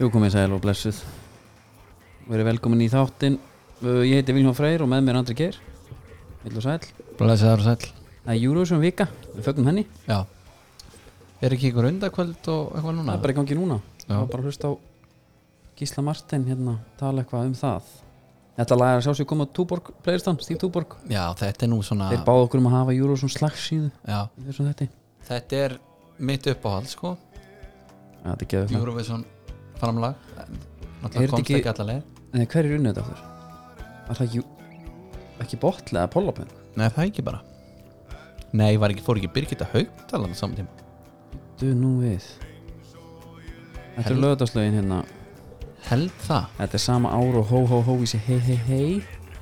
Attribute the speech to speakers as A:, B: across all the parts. A: Jú komið sæl og blessuð Verið velkomin í þáttinn Uh, Ég heiti Viljón Freyr og með mér er Andri Geir Vill og sæl
B: Blæsaður og sæl
A: Það er Eurovision vika, við fögnum henni
B: Já Er ekki ykkur undakvöld og eitthvað
A: Það
B: núna?
A: er bara í gangi núna
B: Já.
A: Það var bara að hlusta á Gísla Martin hérna tala eitthvað um það Þetta lag er að sjá sig koma á Túborg Playerstann, Steve Túborg
B: Já, þetta er nú svona
A: Þeir báðu okkur um að hafa Eurovision slagsíðu
B: Já,
A: í þessum þetta
B: þetta er mitt uppáhald sko
A: Þetta er geðið
B: Eurovision framlag
A: Er
B: Náttúrulega
A: þetta
B: komst
A: ekki-
B: ekki, ekki alla leið
A: það Hver er unnið þetta aftur? Var það Ju- ekki botlega eða pollopin?
B: Nei, það er ekki bara Nei, var ekki, fór ekki Birgitta Haugtalan saman tíma
A: Du nú við Þetta
B: Hel-
A: er lögðarslögin hérna
B: Held það
A: Þetta er sama ár og hó hó hó í sig hei hei hei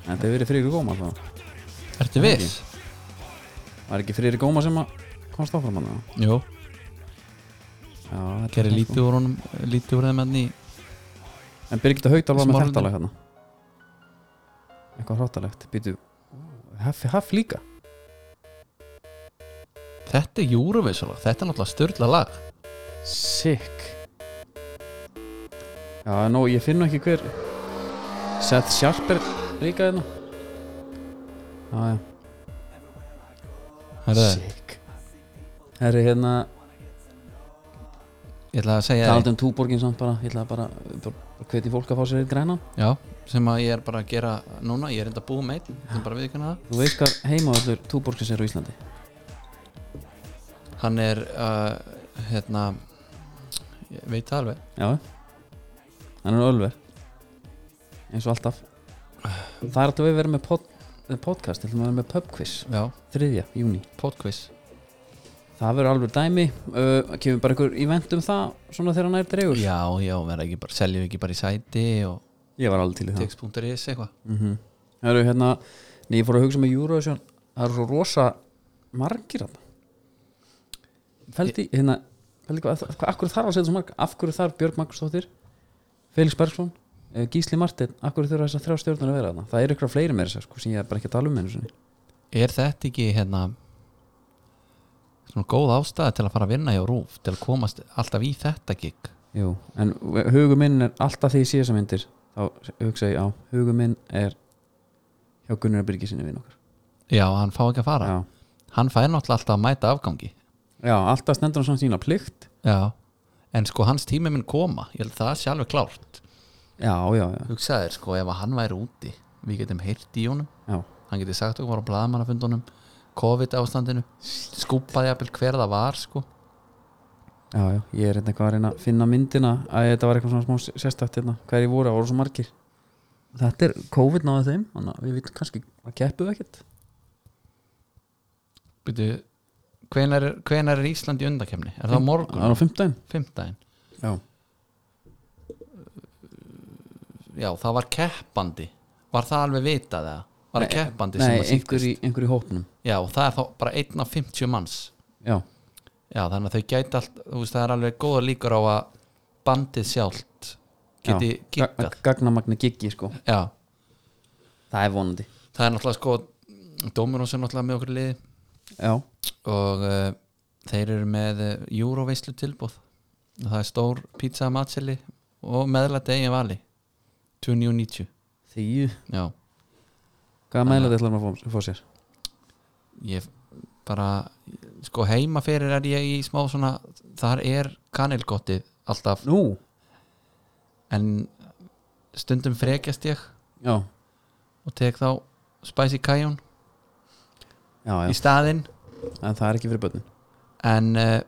A: Þetta hefur verið Friðrik Góma þá
B: Ertu viss?
A: Var ekki Friðrik Góma sem að komst áfram hann eða?
B: Jú,
A: Já, þetta
B: gerir
A: er
B: lítið úr honum Lítið úr þeim enn í
A: sko. En Birgitta Haugdal var með
B: Smáralind.
A: þetta lag hérna Eitthvað hróttalegt Býtu, haffi haff líka
B: Þetta er Eurovision lag, Þetta er náttúrulega störla lag
A: Sick Já, en nú, ég finn nú ekki hver Seth Sharp er líka hérna Já, já,
B: Herðu,
A: sick Herri, hérna,
B: Ég ætla að segja
A: talandi um túborgin samt bara Ég ætla bara, bara hveti fólk að fá sér eitt grænan
B: Já, sem að ég er bara að gera núna, ég er enda að búa með einn, ég er bara að viðkynna það.
A: Þú veist hvað heimaðallur túborgsins er á Íslandi
B: Hann er, uh, hérna, ég veit það alveg,
A: Já Hann er ölver Eins og alltaf Það er alltaf við verið með pod, eh, podcast Þegar maður verið með pubquiz
B: já,
A: 3. júni
B: podquiz.
A: Það verður alveg dæmi uh, Kemur bara einhver event um það Svona þegar hann er dreigur
B: Já, já, verða ekki bara, seljum ekki bara í sæti og
A: Ég var alveg til í það
B: tix.is eitthvað.
A: mm -hmm. Það eru hérna Nei, ég fór að hugsa með Eurovision Það eru svo rosa margir hann Fældi, hérna Fældi hvað, hvað, af hverju þarf að setja svo marg Af hverju þarf Björg Magnúsdóttir Felix Bergson, eh, Gísli Martin Af hverju þurfa þessar þrjá stjórnur að vera þarna Það eru ykkur fleiri meira sér, sko, sem ég er bara ekki að tala um einu sinni
B: Er þetta ekki, hérna, svona góð ástæða til að fara að vinna hjá Rúf, til að komast alltaf í þetta gig?
A: Jú, en hugum minn er alltaf því ég sé þessar myndir Þá hugsa ég á, hugum minn er hjá Gunnar Birgisinni vinn okkar
B: Já, hann fá ekki að fara.
A: Já,
B: Hann fær náttúrulega alltaf að mæta afgangi.
A: já alltaf stendur hann samt sína plikt
B: Já, en sko hans tími minn koma, ég held að það sé alveg klárt.
A: Já, já, já,
B: hugsaðir sko ef að hann væri úti við getum heyrt í honum
A: já
B: hann geti sagt okkur á blaðamannafundunum COVID ástandinu skúpaði jafnvel hver það var sko
A: Já, já, ég er hérna eitthvað að reyna að finna myndina að þetta var eitthvað svona smá sérstætt hérna hverjir voru, það voru svo margir Þetta er COVID náðu þeim, þannig að við vitum kannski að keppu ekkert
B: Byrju, hvenar, hvenar er Ísland í undakemni? Er það á
A: Það
B: morgun?
A: er á fimmtudaginn
B: Fimmtæðin?
A: Já,
B: Já, það var keppandi Var það alveg vitað það? Var það keppandi sem
A: Nei,
B: að
A: einhver í, einhver í hópnum
B: Já, það er þá bara einn af 50 manns
A: Já,
B: Já, þannig að þau gæti allt þú veist, það er alveg góða líkur á að bandið sjálft geti gikkað
A: Gagnamagni giggi, sko
B: Já,
A: Það er vonandi
B: það er náttúrulega sko Dómurón sem náttúrulega með okkur í liði
A: Já,
B: og uh, þeir eru með uh, júróveislu tilbúð það er stór pizza matseli og meðlæti eigin vali 29.90
A: því
B: já,
A: Hvaða meðlega þetta ætlar maður að fá- fá sér?
B: ég bara sko heima fyrir er ég í smá svona þar er kanilgottið alltaf
A: Nú,
B: en stundum frekjast ég
A: já,
B: og tek þá spicy kajun
A: já,
B: í
A: já
B: staðinn
A: En það er ekki fyrir börnin
B: en uh,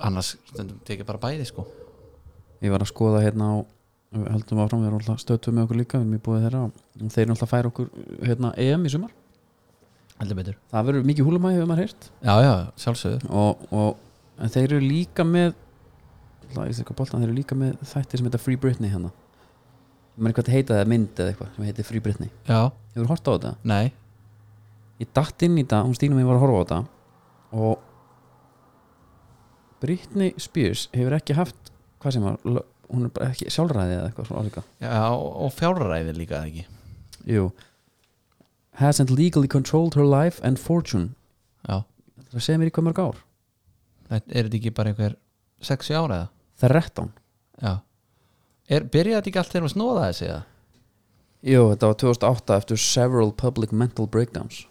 B: annars stundum tek ég bara bæði sko
A: Ég var að skoða hérna á við höldum áfram, við erum alltaf stöttuð með okkur líka við erum í búið þeirra og þeir eru alltaf að færa okkur hérna EM í sumar
B: heldur betur
A: Það verður mikið húlumæði hefur maður heyrt
B: já já, sjálfsögðu
A: og, og en þeir eru líka með Það er eitthvað boltan, þeir eru líka með þætti sem heita Free Britney hérna Ég menn hvað þetta heita það, mynd eða eitthvað sem heiti Free Britney
B: já,
A: Hefur hort á þetta?
B: nei,
A: ég datt inn í þetta, hún stínum ég var að horfa á þetta og Britney Spears hefur ekki haft hvað sem var, lö- hún er bara ekki sjálfræði eða eitthvað svona álíka
B: Já, og og fjárræði líka eða ekki
A: Jú. hasn't legally controlled her life and fortune
B: Já,
A: það segir mér í hvað mörg ár
B: þetta er þetta ekki bara einhver 60 ára eða?
A: 13
B: Já er, Byrjaði þetta ekki allt þegar við snóða þessi eða?
A: Jú, þetta var 2008 eftir several public mental breakdowns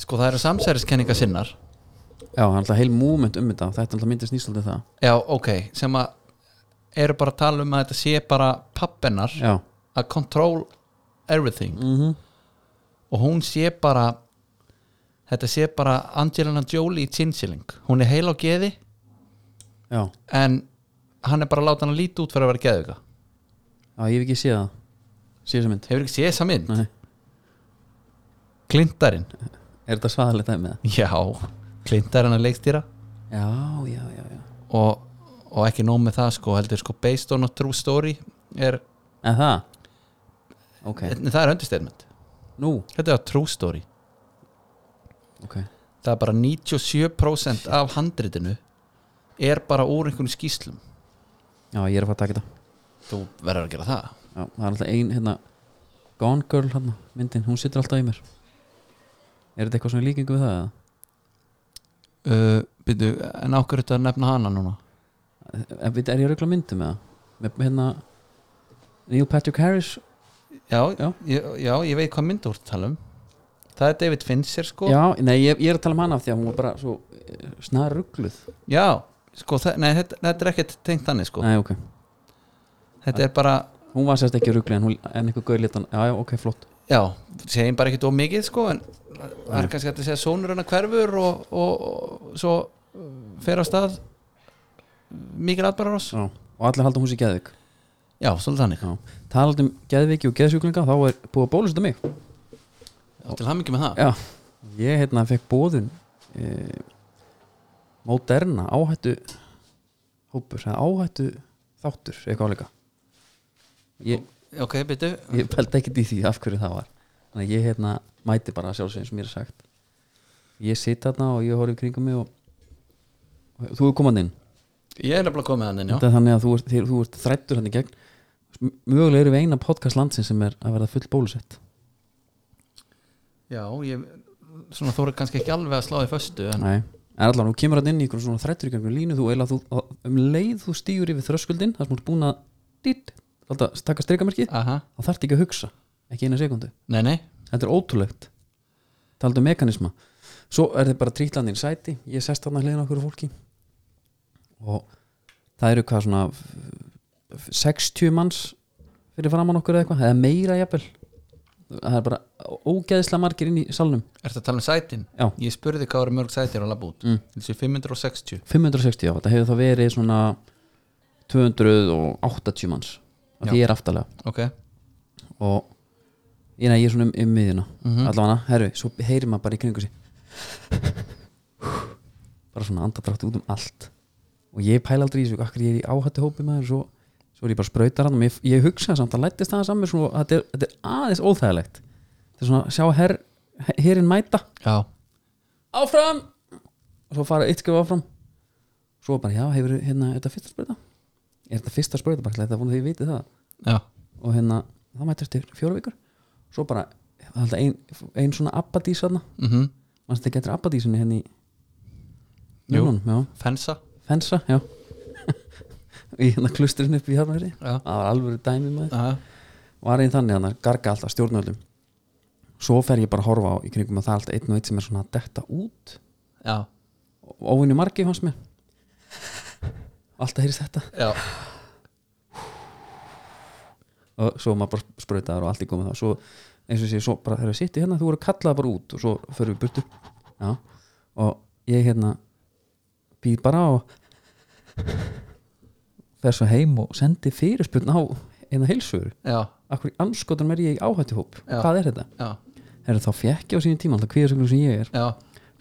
B: Sko það eru samsæriskenninga sinnar
A: Já, hann alltaf heil moment um þetta þetta alltaf myndist nýstaldið um það
B: Já, ok, sem að eru bara að tala um að þetta sé bara pappennar
A: Já,
B: að control everything
A: mm
B: og hún sé bara þetta sé bara Angelina Jolie í Tinsiling hún er heil á geði
A: já.
B: en hann er bara að láta hann líti út fyrir að vera geðuga
A: já ég hef ekki séð það Séð þessa mynd
B: hefur ekki séð þessa mynd?
A: Nei.
B: Klintarinn
A: Er þetta svaðalegt það með það?
B: já, Klintarinn að leikstýra
A: Já, já, já, já
B: og, og ekki nóg með það sko heldur sko based on a true story er,
A: En það? Ok,
B: en það er understatement
A: nú
B: þetta er a true story
A: Ok,
B: það er bara 97% af handritinu er bara úr einhvern skýslum
A: já, ég er að fara að taka þetta
B: þú verður að gera það
A: Já, það er alltaf ein, hérna Gone Girl, hérna, myndin, hún situr alltaf í mér Er þetta eitthvað svona í líkingu við það? eða?
B: uh, byrju, en ákveður þetta að nefna hana núna
A: Er, Eh, veit, er ég að rögla myndum með það? Með, hérna Neil Patrick Harris sko?
B: já,
A: Já.
B: Ég, já, ég veit hvað myndu úr tala um það er David Fincher sko
A: Já, nei, ég, ég er að tala um hana af því að hún var bara svo eh, snar ruggluð
B: Já, sko, það, nei, þetta, þetta er ekkert tengt þannig sko
A: Nei, ok
B: þetta er bara,
A: Hún var sérst ekki ruggluð en, hún, en eitthvað gauði litan Já, já, ok, flott
B: já, segjum bara ekkert of mikið sko, en það er kannski hægt að segja sonur hennar hverfur og, og, og svo uh, fer á stað mikil atbærar oss
A: já. Og allir halda hún sér geðvik
B: Já, svolítið þannig,
A: Talandi um geðviki og geðsjúklinga þá er búið að bólusetta mig
B: til hann mikið með það
A: Já, ég hérna fekk bóðun eh, Moderna áhættu hópur, eða áhættu þáttur, eitthvað áleika Ég,
B: Ok, byrju,
A: ég pældi ekkert í því af hverju það var Þannig að ég hérna mæti bara sjálfsögum sem mér er sagt Ég sit þarna og ég horf í kringum mig og, og þú er komandi inn
B: ég er nefnilega komið hann inn, já
A: Þetta er þannig að þú ert, þér, þú ert þrættur hann í gegn M- Mögulega eru við eina podcast landsins sem er að verða full bólusett
B: Já, ég, svona þú eru kannski ekki alveg að slá því föstu en,
A: Nei, en allan, þú kemur hann inn í einhverjum svona þrættur í einhverjum línu, þú eila þú, að- um leið þú stígur yfir þröskuldin, þar sem þú ert búin að dýtt, alltaf taka streikamerkið
B: Aha,
A: þá þarft ekki að hugsa, ekki eina sekundu
B: nei, nei
A: þetta er ótrúlegt, taldu um mekanisma svo er þið bara trítlandin sæti ég sest hann að hliðin okkur fólki og það eru hvað svona f- f- 60 manns fyrir framann okkur eða eitthvað, eða meira jafnvel það er bara ógeðslega margir inn í salnum,
B: Ertu að tala um sætin?
A: Já.
B: Ég spurði hvað eru mörg sætir á labút
A: Mm.
B: Þessi 560
A: 560 já, þetta hefur þá verið svona 280 manns af því
B: Já.
A: ég er aftalega
B: Ok,
A: og ég, nei, ég er svona um, um miðina
B: Mhm.
A: allavega, herru, svo heyrir maður bara í kringu sig bara svona andadrátt út um allt og ég pæla aldrei í þessu, akkur ég er í áhættu hópi maður svo, svo er ég bara sprautar hann og ég, ég hugsa samt að lættist það saman svona, þetta, er, þetta er aðeins óþægilegt þetta er svona, sjá her, herinn mæta
B: já,
A: áfram og svo fara eitt skrifa áfram svo bara, já, hefur hérna, er þetta fyrsta sprauta? er þetta fyrsta sprauta, bara þetta vonið því ég viti það
B: já
A: og hérna, það mætti eftir fjóra vikur svo bara, það er alltaf ein, ein svona abbadís þarna,
B: mm
A: mannst þetta getur abbadísinni henni hérna í
B: Jú.
A: Núnum, já,
B: Fensa
A: fensa, já í hérna klusturinn upp í Hjarnæri
B: Já,
A: það var alvöru dæmi maður
B: já,
A: var einn þannig hann að garga alltaf stjórnöldum svo fer ég bara að horfa á í kringum að það er alltaf einn og einn sem er svona að detta út
B: já,
A: óvinni margi fannst mér alltaf heyrist þetta
B: já.
A: og svo maður bara sprautaður og allt í komið þá svo eins og sé, svo bara þegar við sitt hérna þú voru kallað bara út og svo förum við burtu já, og ég hérna býð bara og fer svo heim og sendi fyrirspurn á eina heilsugur
B: já,
A: akkur í anskotum er ég í áhættuhóp
B: Já.
A: hvað er þetta?
B: já,
A: Er þá fjekk ég á sínum tíma alltaf kvíðasögnum sem ég er
B: já,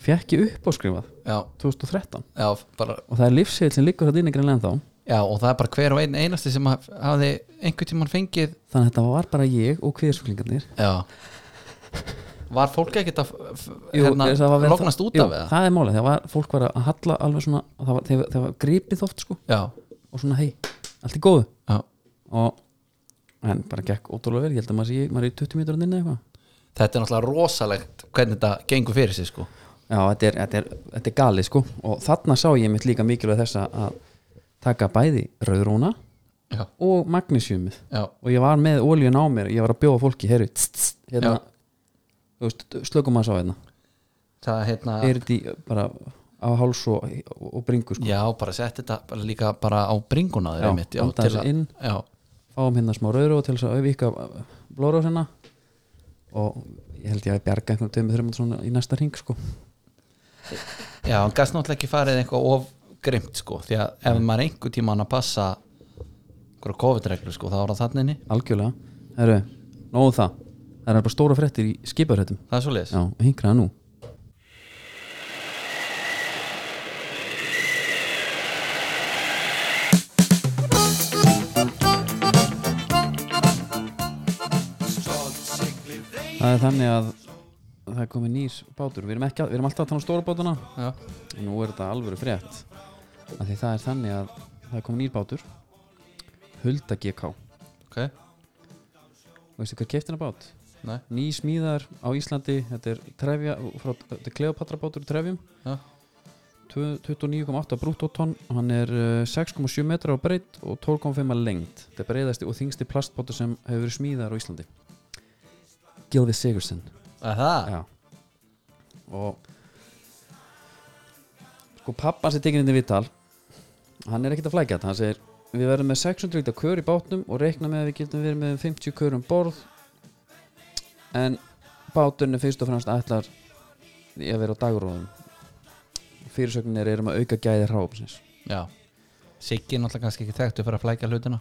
A: fjekk ég upp áskrifað
B: já,
A: 2013
B: já, bara,
A: og það er lífsegil sem liggur þetta inn ekkert enn þá
B: já og það er bara hver og einn einasti sem haf- hafði einhvern tímann fengið
A: þannig að þetta var bara ég og kvíðasöglingarnir
B: Já, var fólk ekkert að f-
A: Jú,
B: hérna,
A: þess að það var verið-
B: lognast út
A: Jú,
B: af við það
A: það er málið, það var, fólk var að halla alveg svona, það var, þegar, það var gripið oft sko,
B: já,
A: og svona hei, allt í góðu
B: já.
A: og en bara gekk ótrúlega vel, ég held að maður sé maður er í 20 mínútur að nynna eitthvað
B: þetta er náttúrulega rosalegt hvernig þetta gengur fyrir sig sko
A: Já, þetta er, þetta, er, þetta er galið sko og þarna sá ég mitt líka mikilvæg þess að- að taka bæði rauðróna
B: já,
A: og magnísjumið
B: já,
A: og ég var með ólíun á mér, ég var að bjóða fólki herri, tss, tss, hérna
B: Já.
A: þú veist, slökum að sá hérna
B: það hérna
A: er þetta í bara á háls og, og bringu sko
B: já, bara sett þetta bara líka bara á bringuna
A: Já,
B: þér einmitt, já,
A: blanda
B: til
A: þessu
B: að-
A: inn.
B: já,
A: fáum hérna smá rauðróð til þess að auðvika blóðrósina og ég held ég að bjarga einhvern tveimur þreymund svona í næsta ring sko
B: já, hann gæst náttúrulega ekki farið eitthvað of grimt sko, því að ef maður er einhver tíma hann að passa einhverja COVID-reglu sko, þá er það þannig inni
A: algjörlega, herru, nóðu það það er bara stóra fréttir í skiparhættum
B: það er svo leiðis,
A: Já, hinkraða nú Það er þannig að það er komið nýr bátur Við erum, ekki, að- við erum alltaf að tala um stóra bátuna
B: já,
A: en nú er þetta alvöru frétt af því það er þannig að það er komið nýr bátur Hulda GK
B: ok
A: Veistu hver keftina bát?
B: nei,
A: ný smíðar á Íslandi þetta er, trefja, frá, þetta er Kleopatra bátur úr trefjum
B: Já.
A: Tvö- 29,8 brúttótonn og hann er eh, 6,7 metra á breytt og 12,5 að lengt þetta er breyðasti og þingsti plastbátur sem hefur verið smíðar á Íslandi Gilvi Sigurðsson
B: að það
A: Já. og sko pappan sem tekinn inn í vital hann er ekkert að flækja þetta hann segir við verðum með 600 lítra kör í bátnum og reikna með að við getum verið með 50 kör um borð en báturinn er fyrst og fremst ætlar í að vera á dagróðum fyrirsögnir erum að auka gæði hráfsins
B: já, Siggi er náttúrulega kannski ekki þekktu fyrir að flækja hlutina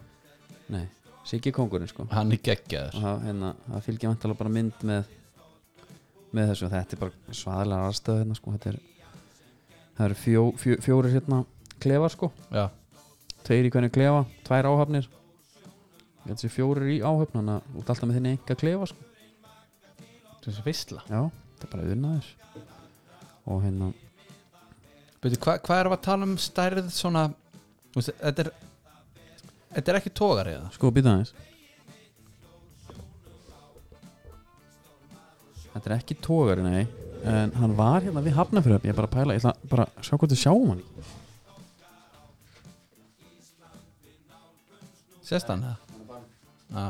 A: nei, Siggi kongurinn sko
B: hann er geggjaður
A: og það, hérna, það fylgir vantilega bara mynd með með þessu, þetta er bara svaðalega aðstöð hérna, sko, þetta er það eru fjó, fjó, fjórir hérna klefar sko,
B: já,
A: tveir í hvernig klefa tvær áhafnir ég held þessi fjórir í áhafn, þannig að út alltaf með þinni enga klefa sko,
B: þú veist vissla
A: já, þetta er bara unnaðis og hérna
B: Beidu, hva, hvað erum við að tala um stærð svona þú veist, þetta er þetta er ekki tógar eða
A: sko, býta aðeins þetta er ekki tógari, nei en hann var hérna við hafnafröf ég er bara að pæla, ég ætla bara að sjá hvort þið sjáum hann
B: sérst hann eða Já.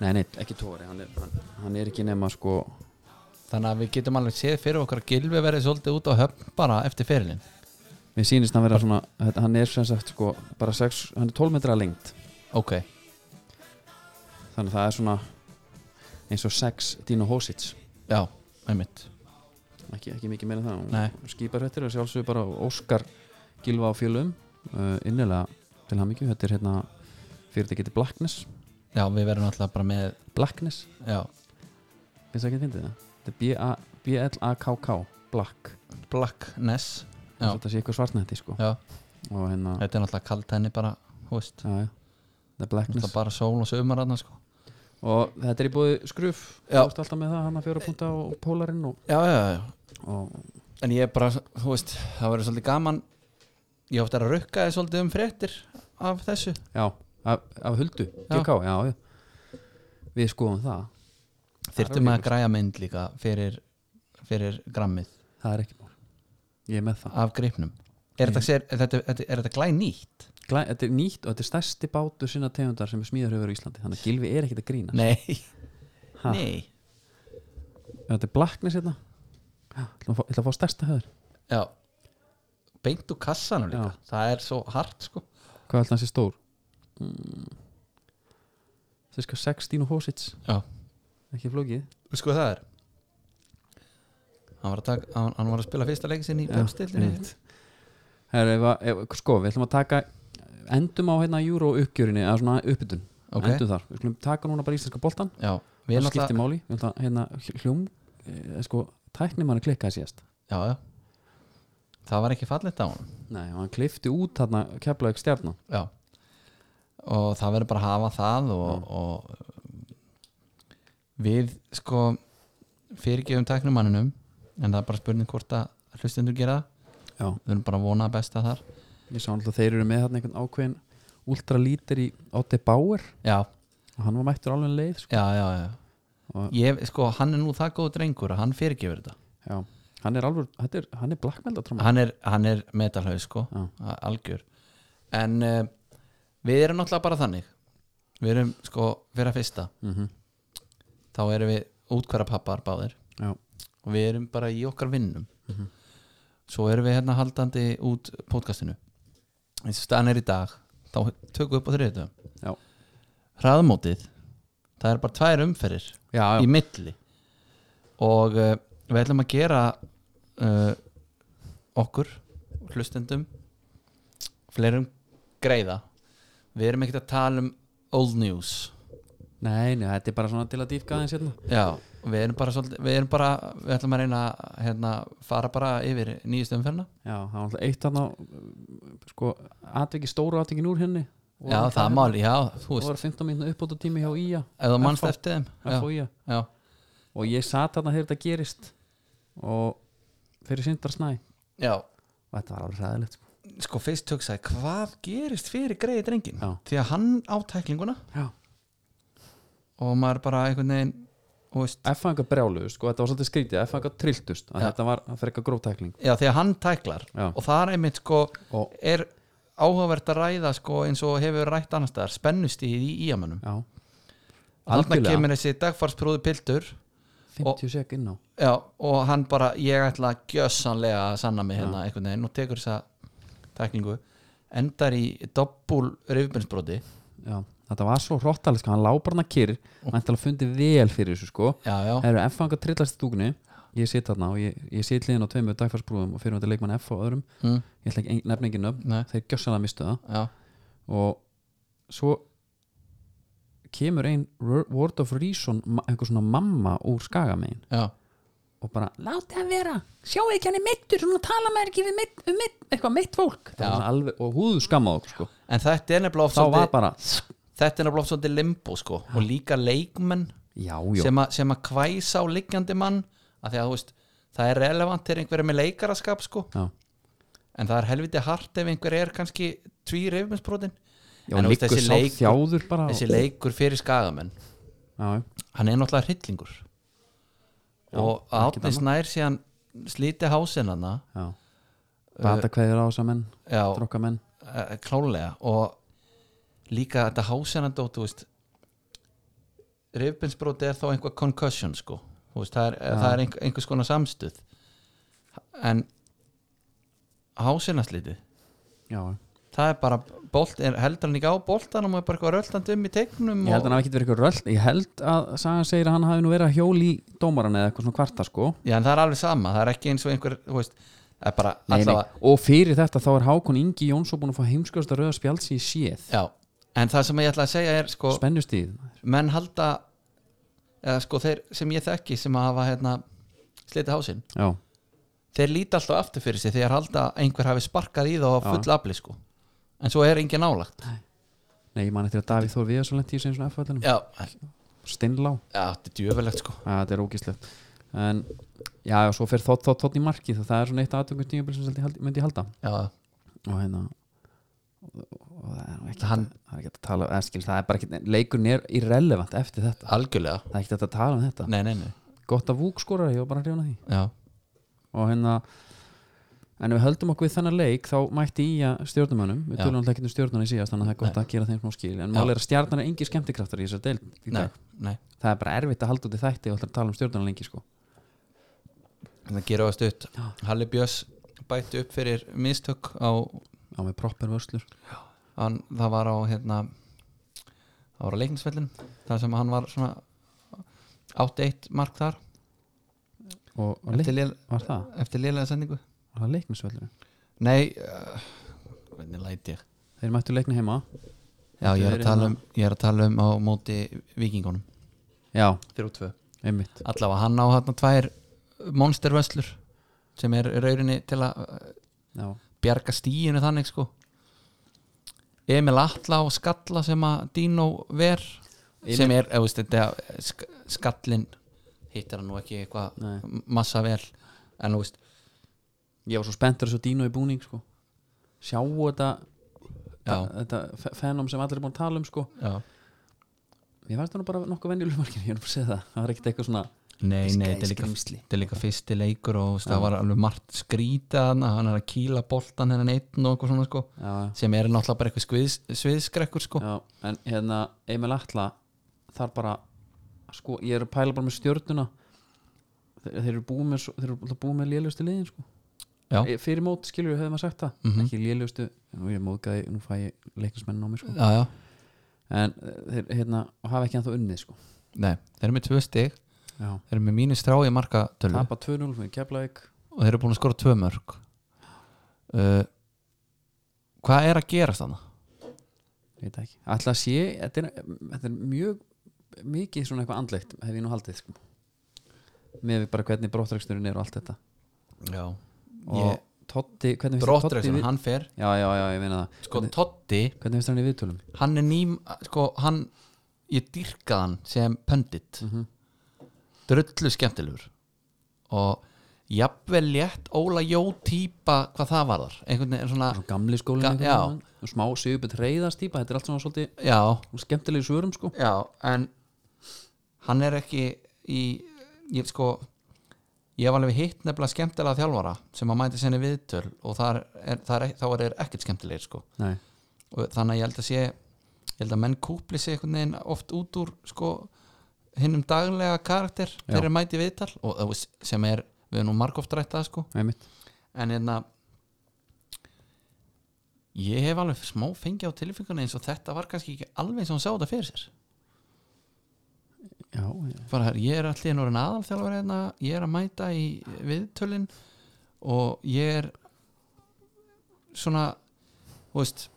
A: Nei, nei, ekki Tóri, hann er, hann, hann er ekki nema sko
B: þannig að við getum alveg séð fyrir okkar að gilvi verið svolítið út á höfn bara eftir fyrirlin
A: Mér sýnist hann vera svona, þetta- hann er sem sagt sko bara 6, hann er 12 metra lengt
B: ok,
A: Þannig að það er svona eins og 6 Dino Hosits
B: já, einmitt
A: ekki, ekki mikið meira en það
B: Nei.
A: Skýparhættir er sjálfsögur bara Óskar Gilva á fjölum uh, innilega til hann mikið, þetta er hérna fyrirtækið til Blackness
B: já, við verðum alltaf bara með
A: Blackness,
B: já,
A: finnst það ekki að fyndið það? Þetta er B-A- B-L-A-K-K Black,
B: blackness
A: Þess
B: já,
A: að þetta sé eitthvað svartnætti sko
B: já,
A: og hérna,
B: þetta er náttúrulega kalt henni bara hú veist,
A: já, já, það er
B: náttúrulega
A: Blackness
B: bara sól og sömur hann sko
A: og þetta er í búið skruf þú
B: Já.
A: ert alltaf með það hann að fjóra punta og pólarinn og,
B: já, já, já
A: og
B: en ég er bara, þú veist, það verður svolítið gaman ég ofta að rukka þið svolítið um fréttir af þessu
A: já, af, af huldu
B: Já.
A: GK, já, já við skoðum það,
B: þyrftum að græja mynd líka fyrir, fyrir grammið
A: það er ekki mál ég er með það,
B: af gripnum er þetta, sér, er þetta, þetta, er þetta glæn nýtt?
A: Glæ, þetta er nýtt og þetta er stærsti bátu sinna tegundar sem er smíðar hefur á Íslandi þannig að Gilvi er ekkit að grína
B: Nei,
A: Ha.
B: nei
A: þetta er blaknis hérna Já, ég ætla að fá- ég ætla að fá stærsta höður
B: Já. beint úr kassanum líka
A: Já.
B: það er svo hart sko
A: hvað er alltaf þessi stór Hmm. mm. þessi 16 og hósits
B: Já.
A: ekki flókið
B: sko það er hann var að, taka, hann, hann var að spila fyrsta leikin sinni í björnstildinni
A: einmitt. Herra, ef að- ef- sko, við ætlum að taka endum á hérna júró uppgjörinni eða svona uppbytun,
B: Ok.
A: endum þar við skulum taka núna bara íslenska boltan
B: Já, við
A: það
B: erum
A: skiptir
B: alltaf
A: máli, við ætlum að hérna hljó- hljóm eh, sko, tæknir mann að klikka síðast
B: já, já. það var ekki fallegt á hann
A: nei, og hann klifti út þarna keflaug stjarnan
B: Já og það verður bara að hafa það og, og við sko fyrirgefum tæknumanninum en það er bara spurning hvort að hlustendur gera það.
A: Já.
B: við erum bara að vona að besta þar
A: ég sá alltaf þeir eru með þarna einhvern ákveðin ultralítir í Otte Bauer
B: já,
A: og hann var mættur alveg leið sko.
B: já, já, já.
A: og,
B: Ég, sko, hann er nú það góð drengur að hann fyrirgefur þetta
A: já, hann er alveg, þetta er, hann er blackmelda tróma
B: hann er, hann er metalhaug sko
A: Já.
B: a- algjör en uh, við erum náttúrulega bara þannig við erum sko fyrir að fyrsta
A: mm
B: þá erum við útkværa pappar báðir
A: já, Mhm.
B: og við erum bara í okkar vinnum svo erum við hérna haldandi út podcastinu eins og staðan er í dag þá tökum við upp á þriðutum
A: Já.
B: hraðmótið það er bara tvær umferðir
A: já,
B: í
A: já,
B: milli og uh, við ætlum að gera uh, okkur hlustendum fleirum greiða við erum ekkert að tala um old news
A: nei, nei, þetta er bara svona til að dýfka aðeins hérna
B: já, við erum bara, svolítið, við erum bara við ætlum að reyna að hérna, fara bara yfir nýjustu umferna
A: já, það var alltaf eitt hann á sko, atviki, stóru atviki úr henni Og
B: já, það er máli, já, þú
A: það
B: veist
A: var 15 mínúna uppbóta tími hjá Ía
B: ef þú mannst
A: FH.
B: eftir þeim
A: FH
B: já,
A: Ía.
B: já,
A: og ég sat þarna þegar þetta gerist og fyrir sindar snæ
B: já,
A: og þetta var alveg ræðilegt sko.
B: sko fyrst hugsaði hvað gerist fyrir greiði drengin
A: Já.
B: því að hann átæklinguna
A: já,
B: og maður bara einhvern veginn þú veist,
A: F-fængar brjáluðu sko, þetta var svolítið skrítið, F-fængar trilltust að
B: Já.
A: þetta var að fyrir eitthvað gróftækling
B: Já, því að hann tæklar
A: Já.
B: og það er einmitt sko
A: og
B: er áhugavert að ræða sko eins og hefur verið rætt annars staðar spennustíð í íamönnum
A: já,
B: Þarna
A: Algjörlega.
B: kemur þessi dagfarsprúðu piltur
A: 50 sek inn á
B: já, og hann bara, ég ætla gjössanlega að sanna mig hérna einhvern veginn og tekur þessa tækningu endar í doppul rifbjörnsbróti
A: já, þetta var svo hróttalega sko, hann lábar hann að kyrr
B: Mm.
A: hann ætti að fundi vel fyrir þessu sko
B: já, já,
A: það eru F-fængar trillast í stúkunni ég sit þarna og ég, ég sit liðin á tveimur dagfarsbrúðum og fyrir þetta leikmann F og öðrum
B: mm,
A: ég ætla ekki nefn engin nöfn,
B: Nei.
A: þeir gjössalega mistu það
B: já,
A: og svo kemur ein wor- word of reason ma- einhver svona mamma úr skagamein
B: já,
A: og bara láti hann vera, sjáu ekki hann er meittur svona tala maður ekki við meitt, um meitt, eitthvað meitt fólk Það var
B: Já.
A: svona alveg, og húðu skammaði okkur sko.
B: en þetta er nefnilega oft
A: þá var
B: svolítið-
A: bara,
B: þetta er nefnilega oft svolítið limbo sko og líka leikmenn
A: já, já
B: sem, a, sem að kvæsa á liggjandi mann að því að þú veist það er relevant til einhverja með leikaraskap sko
A: já,
B: en það er helviti hart ef einhver er kannski tví reyfuminsbrotin
A: já
B: En þú veist,
A: líkur
B: þessi
A: sá
B: leikur-
A: þjáður bara
B: þessi
A: og,
B: leikur fyrir skagamenn
A: já, já,
B: hann er náttúrulega hryllingur
A: Já,
B: og
A: ekkert
B: Átni
A: annað.
B: Snær síðan slíti hásinana
A: já bata kveður á þessa menn,
B: Uh, já,
A: drokka menn
B: eh, klálega og líka þetta hásinandótt þú veist reyfuminsbroti er þá einhver concussion sko Þú veist, það er, það er einhver, einhvers konar samstuð en hásinaslítið
A: já, já.
B: það er bara bolt, er, heldur hann ekki á boltanum og er bara eitthvað röldandi um í tegnum
A: ég held að hann hafi ekki verið eitthvað röld ég held að Sagan segir að hann hafi nú verið að hjóli í dómaran eða eitthvað svona kvarta sko
B: Já, en það er alveg sama, það er ekki eins og einhver þú veist, það er bara
A: nei, nei.
B: allavega
A: og fyrir þetta þá er Hákon Ingi Jónsson búin að fá heimskjösta rauða spjald sem ég séð
B: Já, en það sem ég ætla að segja er sko,
A: spennustíð,
B: menn halda eða sko þeir sem ég þekki sem að hafa hérna slitið hásinn
A: já,
B: þeir líti alltaf aftur fyrir sig þegar halda að einhver hafi sparkað í þá á
A: Já.
B: full afli sko en svo er engin nálagt
A: nei, ég man eftir að Davíð Þór Viðarsson lenti í sem svona F-fællinu,
B: Já,
A: steinlá
B: já þetta er djöfulegt sko
A: að þetta er ógíslegt en já, og svo fer þótt, þótt, þótt í markið það, það er svona eitt aðtökum tímabil sem ég held- myndi ég halda
B: Já,
A: og hérna og það er nú ekki,
B: Hann-
A: það er ekki að tala eða, skil, það er bara ekki, leikurinn er irrelevant eftir þetta,
B: algjörlega
A: það er ekki hægt að tala um þetta
B: Nei, nei, nei
A: gott að vúk skorar, ég var bara að hrjóna því
B: Já,
A: og hérna en ef við höldum okkur við þennan leik þá mætti í að stjórnumönnum við
B: Já.
A: tölum alltaf ekki um stjórnuna í síðast þannig að það er gott að gera þeim smá skil en
B: Já.
A: mál er að stjarnan er engi skemmtikraftar í þessar deil í
B: nei,
A: dag
B: nei
A: það er bara erfitt að halda út í þætti og alltaf að tala um stjórnuna lengi sko.
B: það gera það stutt Halli Björns bætti upp fyrir mistök á,
A: á með proper vörslur
B: hann, það var á hérna, það var á leiknisvellin þar sem hann var svona 8-1 mark þar
A: og, og leik,
B: eftir, lél,
A: var það,
B: eftir lélega sendingu
A: var það leiknisvöllur
B: nei, uh, hvernig læti ég
A: þeir mættu leikni heima
B: já, ég
A: Þeir hérna-
B: er, að tala um, ég er að tala um á móti vikingunum
A: já,
B: fyrir tvö
A: einmitt
B: allavega hann á hérna tvær monstervöslur sem er raurinni til að eh,
A: já,
B: bjarga stíinu þannig sko Emil Atla og Skalla sem að Dino ver
A: Emil-
B: sem er, eða veist, þetta uh, sk- skallinn hittir hann nú ekki eitthvað
A: Nei.
B: massa vel en þú veist,
A: ég var svo spenntur þessu Dino í búning sko. sjáu þetta
B: Já.
A: þetta fe- fenóm sem allir er búin að tala um sko.
B: já
A: ég fannst það nú bara nokkuð venjulega margin ég er nú bara að segja það, það var ekkert eitthvað svona
B: Nei,
A: Skæ-
B: nei, þetta er líka,
A: skrímsli.
B: þetta er líka fyrsti leikur og þú veist, það var alveg margt skrýta hann hann er að kýla boltan hennan einn og eitthvað svona sko
A: já,
B: sem er náttúrulega bara eitthvað sviðs, sviðskrekkur sko
A: Já, en hérna Emil Atla þar bara sko, ég er að pæla bara með stjörnuna þeir, þeir eru búið með, svo- þeir eru alltaf búið með lélustu liðin sko.
B: Já.
A: Eh, fyrir mót skilur við höfum að sagt það
B: Mhm.
A: ekki lélustu, nú er ég móðgæði nú fæ ég leiknismenn á mig sko.
B: Já, já,
A: en eh, þeir hérna, og hafa ekki ennþá unnið sko.
B: nei, þeir eru með tvö stig
A: Já.
B: þeir eru með mínus þrá í markatölu
A: tapa 2-0 fyrir Keflavík
B: og þeir eru búin að skora tvö mörg uh, Hvað er að gerast þannig?
A: veit það ekki, alltaf sé þetta er, þetta er mjög mikið svona eitthvað andlegt, hef ég nú haldið sko. með bara hvernig brottræksturinn er og allt þetta
B: Já,
A: og
B: Ég-
A: Totti, hvernig finnst þér Totti
B: Brottrekson,
A: við-
B: hann fer
A: já, já, já, ég meina það
B: sko
A: hvernig,
B: Totti,
A: hvernig finnst þér hann í viðtölum?
B: hann er ným sko, hann, ég dyrkaði hann sem pöndit
A: Mhm.
B: drullu skemmtilegur og jafnvel létt Óla Jó típa hvað það varðar einhvern veginn svona,
A: Svo gamli skólinn
B: Ah, Ga-
A: einhvern
B: já.
A: veginn, og smá sigubið reyðastýpa þetta er allt svona svolítið
B: já
A: skemmtilegi svörum sko
B: já, en hann er ekki í, ég sko ég hef alveg hitt nefnilega skemmtilega þjálfara sem að mæti senni viðtöl og þar er, þar er, þá er þeir ekkert skemmtilegir sko
A: Nei.
B: og þannig að ég held að sé ég held að menn kúpli sig einhvern veginn oft út úr sko hinnum daglega karakter
A: Já.
B: þegar þeir mæti viðtal og þú veist, sem er, við erum nú margóft rætt að sko
A: einmitt.
B: en hérna ég hef alveg smá fengið á tilfingunni eins og þetta var kannski ekki alveg eins og hann sá þetta fyrir sér
A: já, já,
B: bara hér, ég er allir einu orðin aðalþjálfari hérna, ég er að mæta í viðtölin og ég er svona þú veist,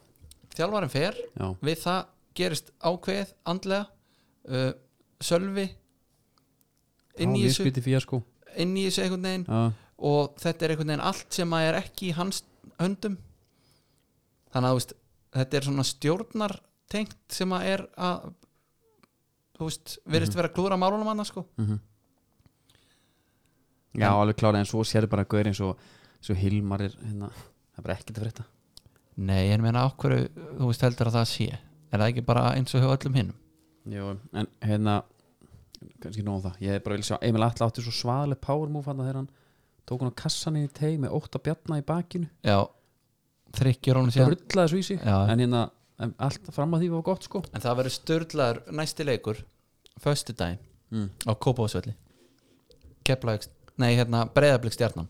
B: þjálfarin fer
A: já,
B: við það gerist ákveð andlega uh, sölvi inn í,
A: já
B: þessu,
A: fyrir sko
B: inn í þessu einhvern veginn
A: já,
B: og þetta er einhvern veginn allt sem að er ekki í hans höndum þannig að þú veist, þetta er svona stjórnartengt sem að er að þú veist, verðist vera að klúra málunum annars sko
A: mhm. já alveg klára en svo sérðu bara gaur eins og svo Hilmar er hérna það er bara ekkert að frétta
B: Nei, en meina okkur, þú veist heldur að það sé er það ekki bara eins og hjá öllum hinnum
A: Jú, en hérna kannski nóg um það, ég er bara vil sjá Emil Atla átti svo svaðaleg power move hann þegar hann tók hann á kassan inn í teig með ótt að bjarna í bakinu
B: Já, þrykkjur honum síðan
A: rullaði svo í sig
B: Já.
A: en hérna en allt fram að því var gott sko
B: En það verður störlaður næsti leikur Föstudaginn
A: Mm.
B: á Kópavásvelli Keflavík, nei hérna Breiðablík stjarnan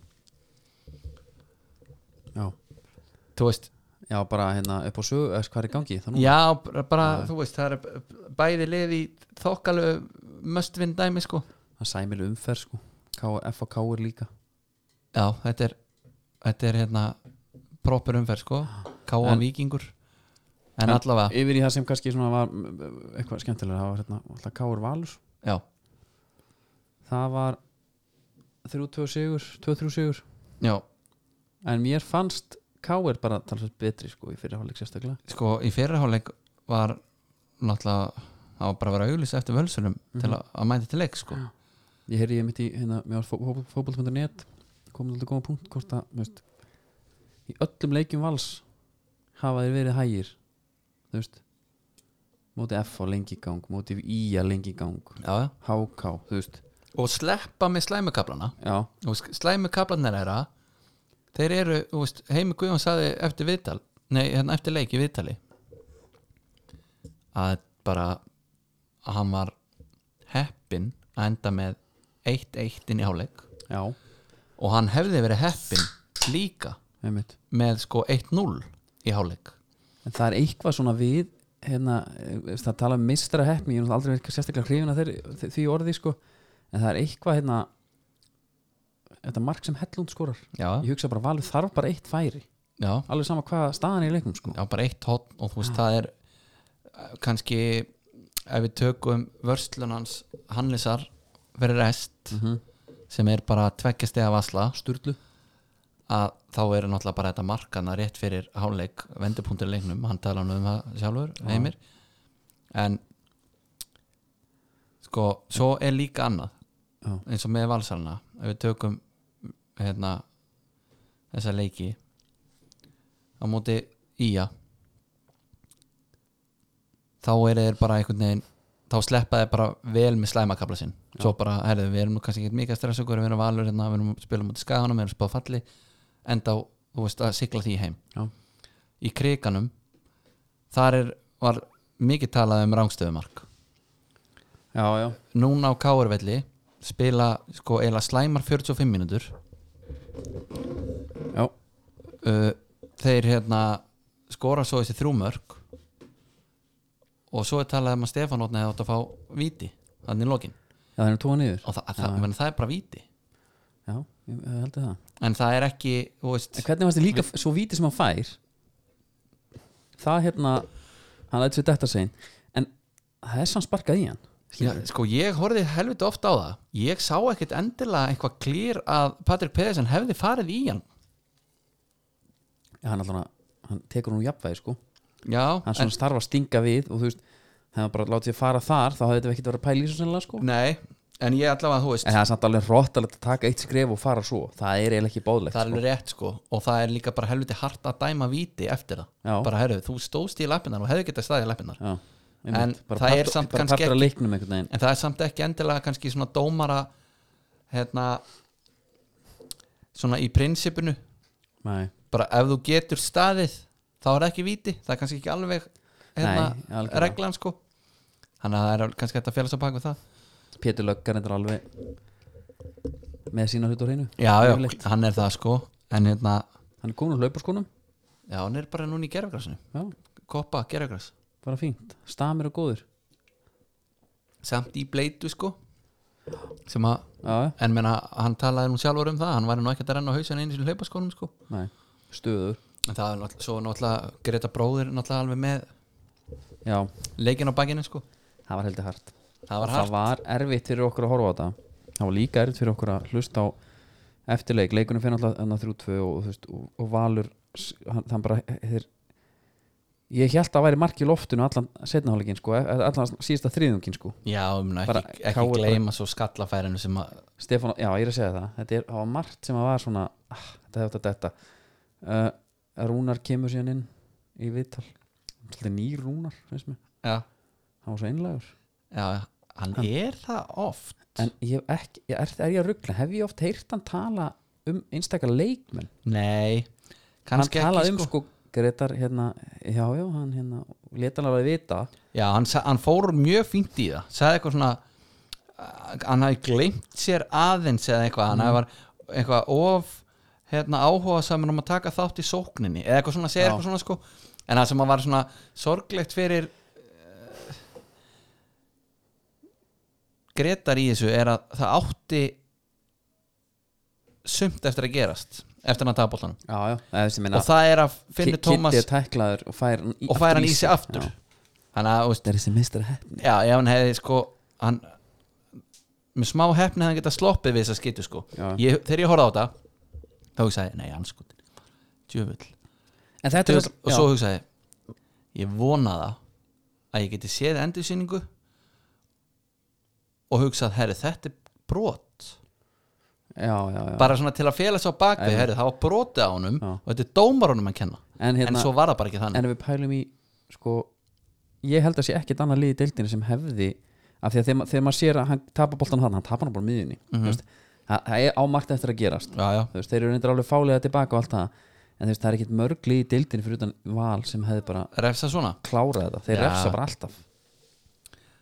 A: já,
B: Þú veist,
A: já bara hérna upp á sögu eða hvað er í gangi það nú
B: já, bara, bara þú veist það er bæði lið í þokkalu möstvinn dæmi sko
A: það sæmil umferð sko F og K er líka
B: Já, þetta er, þetta er hérna proper umferð sko Káan
A: En-
B: Víkingur En allavega,
A: yfir í það sem kannski svona var mm, eitthvað skemmtilega það var hérna alltaf K er Valur
B: já,
A: það var 3-2 sigur 2-3 sigur
B: já
A: en mér fannst K er bara talsveit betri sko í fyrirháleik sérstaklega
B: sko í fyrirháleik var náttúrulega það var bara að vera auglýst eftir völsunum til að, að mæta til leik sko
A: ég heyrði ég mitt í hérna mér var fótboll.net komið alltaf góða punkt hvort að þú veist, í öllum leikjum vals hafa þeir verið hægir þú veist móti F á lengi í gang, móti I á lengi í gang
B: já, já.
A: HK, þú veist
B: og sleppa með slæmukablana
A: já,
B: og slæmukablanar þeirra þeir eru, þú veist, Heimi Guðjón saði eftir viðtal, nei, hérna eftir leik í viðtali að bara að hann var heppin að enda með 1-1 inn í háleik
A: já,
B: og hann hefði verið heppin líka
A: einmitt
B: með sko 1-0 í háleik
A: en það er eitthvað svona við hérna, eh, veist, það tala um mistara heppni ég er náttúrulega aldrei verið sérstaklega hrifin að þeir, þe- því orði sko, en það er eitthvað hérna þetta mark sem Hellund skorar
B: já,
A: ég hugsa bara valið þarf bara eitt færi
B: já
A: alveg sama hvað staðan er í leiknum sko
B: já, bara eitt hotn og þú veist það er eh, kannski ef við tökum vörslunans Hannesar fyrir rest
A: Mhm.
B: sem er bara tveggjast eða vasla
A: Sturlu
B: að þá er náttúrulega bara þetta markana rétt fyrir háleik vendupunktur í leiknum, hann tala nú um það sjálfur heimir en sko, svo er líka annað
A: Já.
B: eins og með valsalana ef við tökum hérna, þessa leiki á móti íja þá er þeir bara einhvern veginn þá sleppa þeir bara vel með slæmakabla sinn svo bara, herðu, við erum nú kannski ekki mikið að stressa okkur við erum valur, hérna, við erum að spila mútið skaganum við erum spáð falli, enda á þú veist, að sigla því heim
A: Já.
B: í kriganum þar er, var mikið talað um rángstöðumark
A: já, já,
B: núna á Káurvelli spila sko eila slæmar 45 mínútur
A: já,
B: uh, þeir hérna skora svo þessi þrjú mörg og svo er talað um að Stefán Ótna hefði átt að fá víti þannig í lokin
A: já það er tóa niður
B: og það, það, menn, það er bara víti
A: já, ég, ég held að það
B: en það er ekki þú veist,
A: en hvernig fannst þið líka, svo víti sem hann fær það hérna hann lætur sér detta sein en það er samt sparkað í hann
B: já, sko ég horfði helviti ofta á það ég sá ekkit endilega eitthvað klýr að Patrik Pedersen hefði farið í hann
A: já, hann allan að, hann tekur hún jafnvægi sko
B: já,
A: hann svona starfa að stinga við og þú veist, hefði hann bara látið að fara þar þá hefði þetta ekkert verið að pæla í svo sennilega sko
B: en, nei, en ég allavega þú veist
A: en það er samt alveg hróttalegt að taka eitt skref og fara svo það er eiginlega ekki bóðlegt
B: það er alveg rétt sko og það er líka bara helviti hart að dæma víti eftir það
A: Já.
B: bara herru, þú stóðst í lappinnar og hefði getað staðið í lappinnar
A: Já,
B: En
A: einmitt, bara
B: það er
A: partur-
B: samt
A: bara
B: kannski
A: partur af
B: ekki-
A: leiknum einhvern veginn
B: en það er samt ekki endilega kannski svona dómara hérna svona í prinsipinu
A: Nei,
B: bara ef þú getur staðið þá er ekki víti, það er kannski ekki alveg
A: Nei,
B: hérna,
A: algjörlega.
B: reglan sko þannig að það er kannski hægt að félast á bak við það
A: Pétur Löggar er alveg með sína hlut á hreinu
B: já,
A: Yfirleitt.
B: já, hann er það sko en hérna,
A: hann er komin úr lauparskónum
B: já, hann er bara núna í gerfgrasinu
A: já,
B: koppa gerfgras,
A: bara fínt, stamir og góður
B: samt í bleitu sko sem að
A: já, já,
B: En menna, hann talaði nú sjálfur um það Hann væri nú ekkert að renna á hausin einu sinni hlaupaskónum sko.
A: nei, stöður
B: En það er náttúrulega, svo náttúrulega Greta bróðir náttúrulega alveg með
A: já,
B: leikin á bakinu sko.
A: það var heldur hart
B: Það var hart
A: það var erfitt fyrir okkur að horfa á þetta það var líka erfitt fyrir okkur að hlusta á eftirleik, leikunum fyrir alltaf enna þrjú tvö og, þú veist, og, og Valur s- hann, hann bara þeir, ég held að það væri mark í loftinu allan setnahálegin sko, eh, allan síðasta þriðungin sko
B: Já, ég meina,
A: Bara
B: ekki, ekki
A: KR bara-
B: gleyma svo skallafærinu sem að
A: Stefán, já ég er að segja það þetta er á margt sem að var svona ah, þetta hefði átt að detta uh, Rúnar kemur síðan inn í viðtal svolítið nýr Rúnar finnst mér,
B: Já,
A: hann var svo einlægur
B: já hann er það oft
A: en ég hef ekki, ég er, er ég að ruggla hef ég oft heyrt hann tala um einstakar leikmenn,
B: Nei, kannski
A: hann
B: ekki
A: talaði um sko Gretar hérna, já já hann hérna leta hann alveg vita
B: Já, hann, sa- hann fór mjög fínt í það sagði eitthvað svona uh, hann hafi gleymt sér aðeins eða eitthvað,
A: Mm.
B: hann hafi var eitthvað of hérna, áhuga saman um að taka þátt í sókninni eða eitthvað svona, segir
A: Já.
B: eitthvað svona sko en það sem að var svona sorglegt fyrir uh, Gretar í þessu er að það átti sumt eftir að gerast eftir hann að tapoltanum
A: já já, það er sem minna
B: og það er að finna
A: Kitty
B: Thomas
A: er tæklaður og fær hann í,
B: og færa hann í
A: aftur
B: sig aftur
A: Já.
B: þannig að þú veist,
A: þetta er þessi mistur hefni
B: Já, ef hann hefði sko hann, með smá hefni hefði hann getað sloppið við þess að skytu sko
A: Já.
B: ég, þegar ég horfði á þetta þá hugsaði, ég, nei, hann sko djöfull,
A: en þetta er
B: djöfull og svo hugsaði, ég, ég vona það að ég geti séð endursýningu og hugsað, herri, þetta er brot
A: já já já
B: bara svona til að fela svo bakvið, herri, það var brotið á honum
A: Já.
B: og þetta er dómarunum að kenna
A: en hérna-
B: Hérna- en svo var það bara ekki þannig
A: en ef við pælum í sko, ég held að sé ekkert annað lið í deildinu sem hefði af því að þegar, ma- þegar maður sér að hann tapar boltan hann hann tapar hann bara á miðjunni mm -hmm. það, það er ámakt eftir að gerast
B: já, já,
A: Þú veist, þeir eru reyndar alveg fálega tilbaka og allt það en þú veist, það er ekkert mörg lið í deildinu fyrir utan val sem hefði bara
B: refsa svona
A: klárað þetta þeir
B: Já.
A: refsa bara alltaf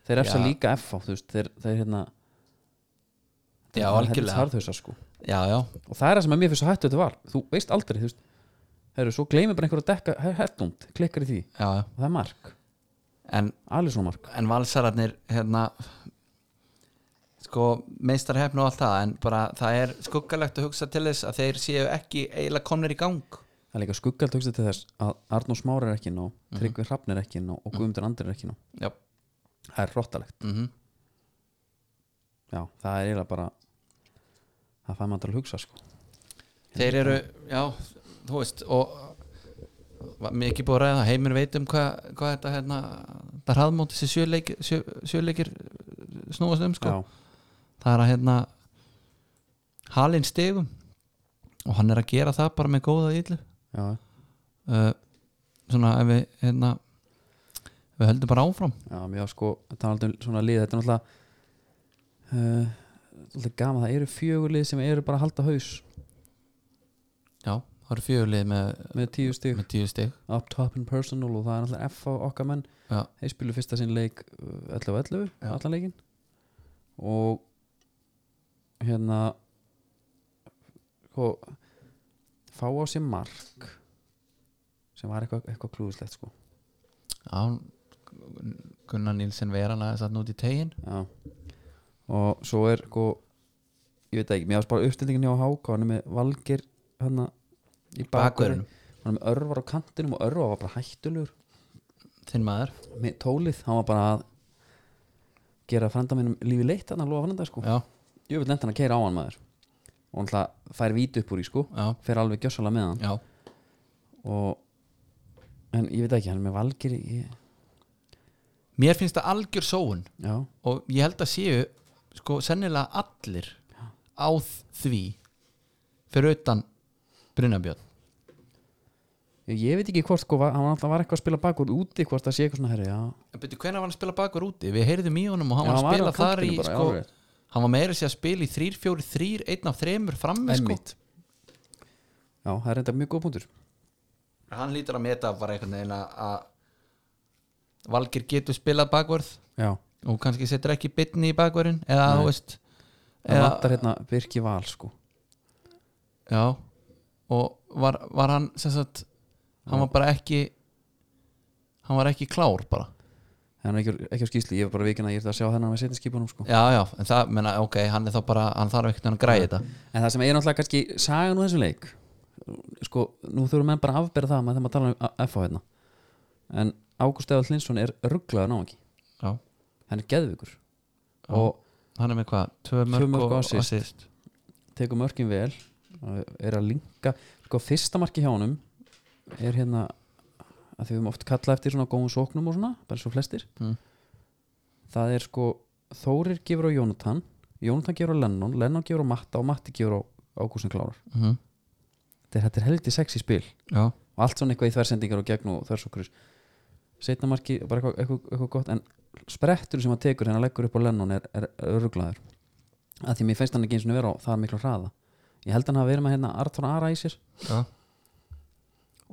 A: þeir refsa
B: Já.
A: líka FH þú veist, þeir, þeir hérna
B: Já, algjörlega.
A: harðhauðsa sko
B: já, já,
A: og það er það sem að mér finnst svo hættu þetta var þú veist aldrei, þú veist Heru, svo gleymir bara einhver að dekka hættund klikkar í því
B: já, já.
A: og það er mark
B: en
A: Alisson mark
B: en valsararnir hérna sko meistar hefn og allt það en bara það er skuggalegt að hugsa til þess að þeir séu ekki eiginlega komnir í gang
A: það er líka skuggald hugsað til þess að Arnó Smári er ekki ná, Tryggvi Hrafn er ekki ná og Guðmundur Andri er ekki ná,
B: Mhm. já,
A: það er hróttalegt
B: mm
A: já, það er eiginlega bara það fær maður til að hugsa sko
B: þeir eru já, þú veist og var mér ekki búið að ræða heimir veit um hvað, hvað þetta hérna það hraðmóti sér sjöleikir, sjö, sjöleikir snúast um sko.
A: já,
B: það er að hérna halinn stigum og hann er að gera það bara með góða íllu
A: já,
B: uh, svona ef við hérna við höldum bara áfram
A: já, já sko, það er aldrei svona lið þetta er náttúrulega uh, alltaf gaman, það eru fjögur lið sem eru bara að halda haus
B: já, það eru fjögulið með,
A: með tíu stig
B: með tíu stig
A: up top and personal og það er náttúrulega F á okkar menn
B: Já.
A: þeir spilu fyrsta sinn leik uh, 11-11,
B: Já.
A: allan leikinn og hérna og fá á sér mark sem var eitthvað, eitthvað klúðislegt sko
B: já, Gunnar Nílsen veran aðeins að nút í tegin
A: Já. og svo er sko, ég veit það ekki, mér varst bara uppstillingin hjá Háka, hann er með Valgir hann í bakverðin
B: bakverðinum,
A: hann er með örvar á kantinum og örvar var bara hættulegur
B: þinn maður
A: með tólið, hann var bara að gera frænda mínum lífi leitt hann að lofa frænda sko,
B: já,
A: ég vil lenda hann að keira á hann maður og hann ætla fær víti upp úr í sko
B: já,
A: fer alveg gjössalega með hann
B: já
A: og en ég veit ekki, hann er með valgir ég,
B: mér finnst það algjör sóun
A: já,
B: og ég held að séu sko sennilega allir á þ- því fyrir utan Brynabjörn
A: ég, ég veit ekki hvort sko, var- hann var alltaf var eitthvað að spila bakur úti hvort það sé eitthvað svona herri, já,
B: en betur hvernig var hann að spila bakur úti við heyrðum í honum og hann
A: já,
B: var að spila
A: á
B: þar í
A: kantinum bara,
B: sko,
A: alveg.
B: hann var meira sér að spila í 3-4-3 einn af þremur frammi sko.
A: Einmitt. já, það er reynda mjög góð punktur
B: hann lítur að meta bara einhvern veginn að- að Valgir getur spilað bakvörð
A: já,
B: og kannski setur ekki bitni í bakvörðin
A: Nei.
B: eða þú veist
A: það vantar hérna Birki Val sko
B: já og var, var hann sem sagt hann var bara ekki hann var ekki klár bara
A: hann er ekki, ekki á skýsli, ég er bara vikinn að ég er það að sjá þennan með setjanskipunum sko
B: já já en það menna ok hann er þá bara hann þarf ekkert að græja þetta
A: En það sem er náttúrulega kannski sagan úr þessum leik sko, nú þurfum menn bara að afbera það með þeim að tala um A- FH hérna en Ágúst Eðal Hlinsson er rugglaður náðingi
B: já
A: hann er geðvikur
B: Já.
A: og
B: hann er með hvað tvö
A: Tvö
B: mörg
A: mörk
B: og
A: og assist.
B: assist
A: tekur mörkin vel og er að linka sko, fyrsta marki hjá honum er hérna að því við höfum oft kallað eftir svona góðum sóknum og svona, bara svo flestir
B: Mm.
A: það er sko Þórir gefur á Jónatan Jónatan gefur á Lennon, Lennon gefur á Matta og Matti gefur á Ágústin Klárar
B: mm
A: þetta er- þetta er heldig sex í spil
B: já
A: og allt svona eitthvað í þversendingar og gegn og þversokkur setna marki, bara eitthvað, eitthvað, eitthvað gott en sprettur sem hann tekur þegar hann leggur upp á lennon er, er öruglaður að því mér finnst hann ekki eins og vera á það miklu hraða ég held hann hafi verið með hérna Artur Ara í sér
B: já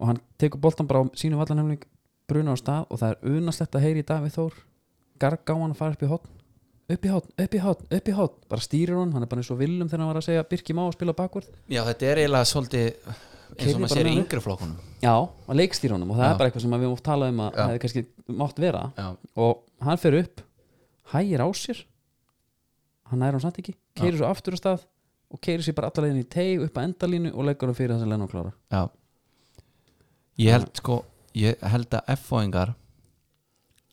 A: og hann tekur boltan bara á sínu vallanhefning bruna á stað og það er unaslegt að heyri í Davíð Þór garg á hann að fara upp í hotn upp í hotn, upp í hotn, upp í hotn bara stýrir hann, hann er bara eins og villum þegar hann var að segja Birki má að spila bakvörð
B: já þetta er eiginlega svolítið eins
A: Keyrði
B: og maður
A: bara
B: sér í
A: með hann.
B: yngri flokkunum
A: já, hann leikstýr honum og það
B: Já.
A: er bara eitthvað sem við mátt tala um að
B: Já.
A: hefði kannski mátt vera
B: já
A: og hann fer upp hægir á sér hann næra hann samt ekki, keirir svo aftur á stað og keirir sér bara allalegin í teig upp að endalínu og leggur hann fyrir þessi lenn og klára
B: Já Ég held sko ég held að F-fóingar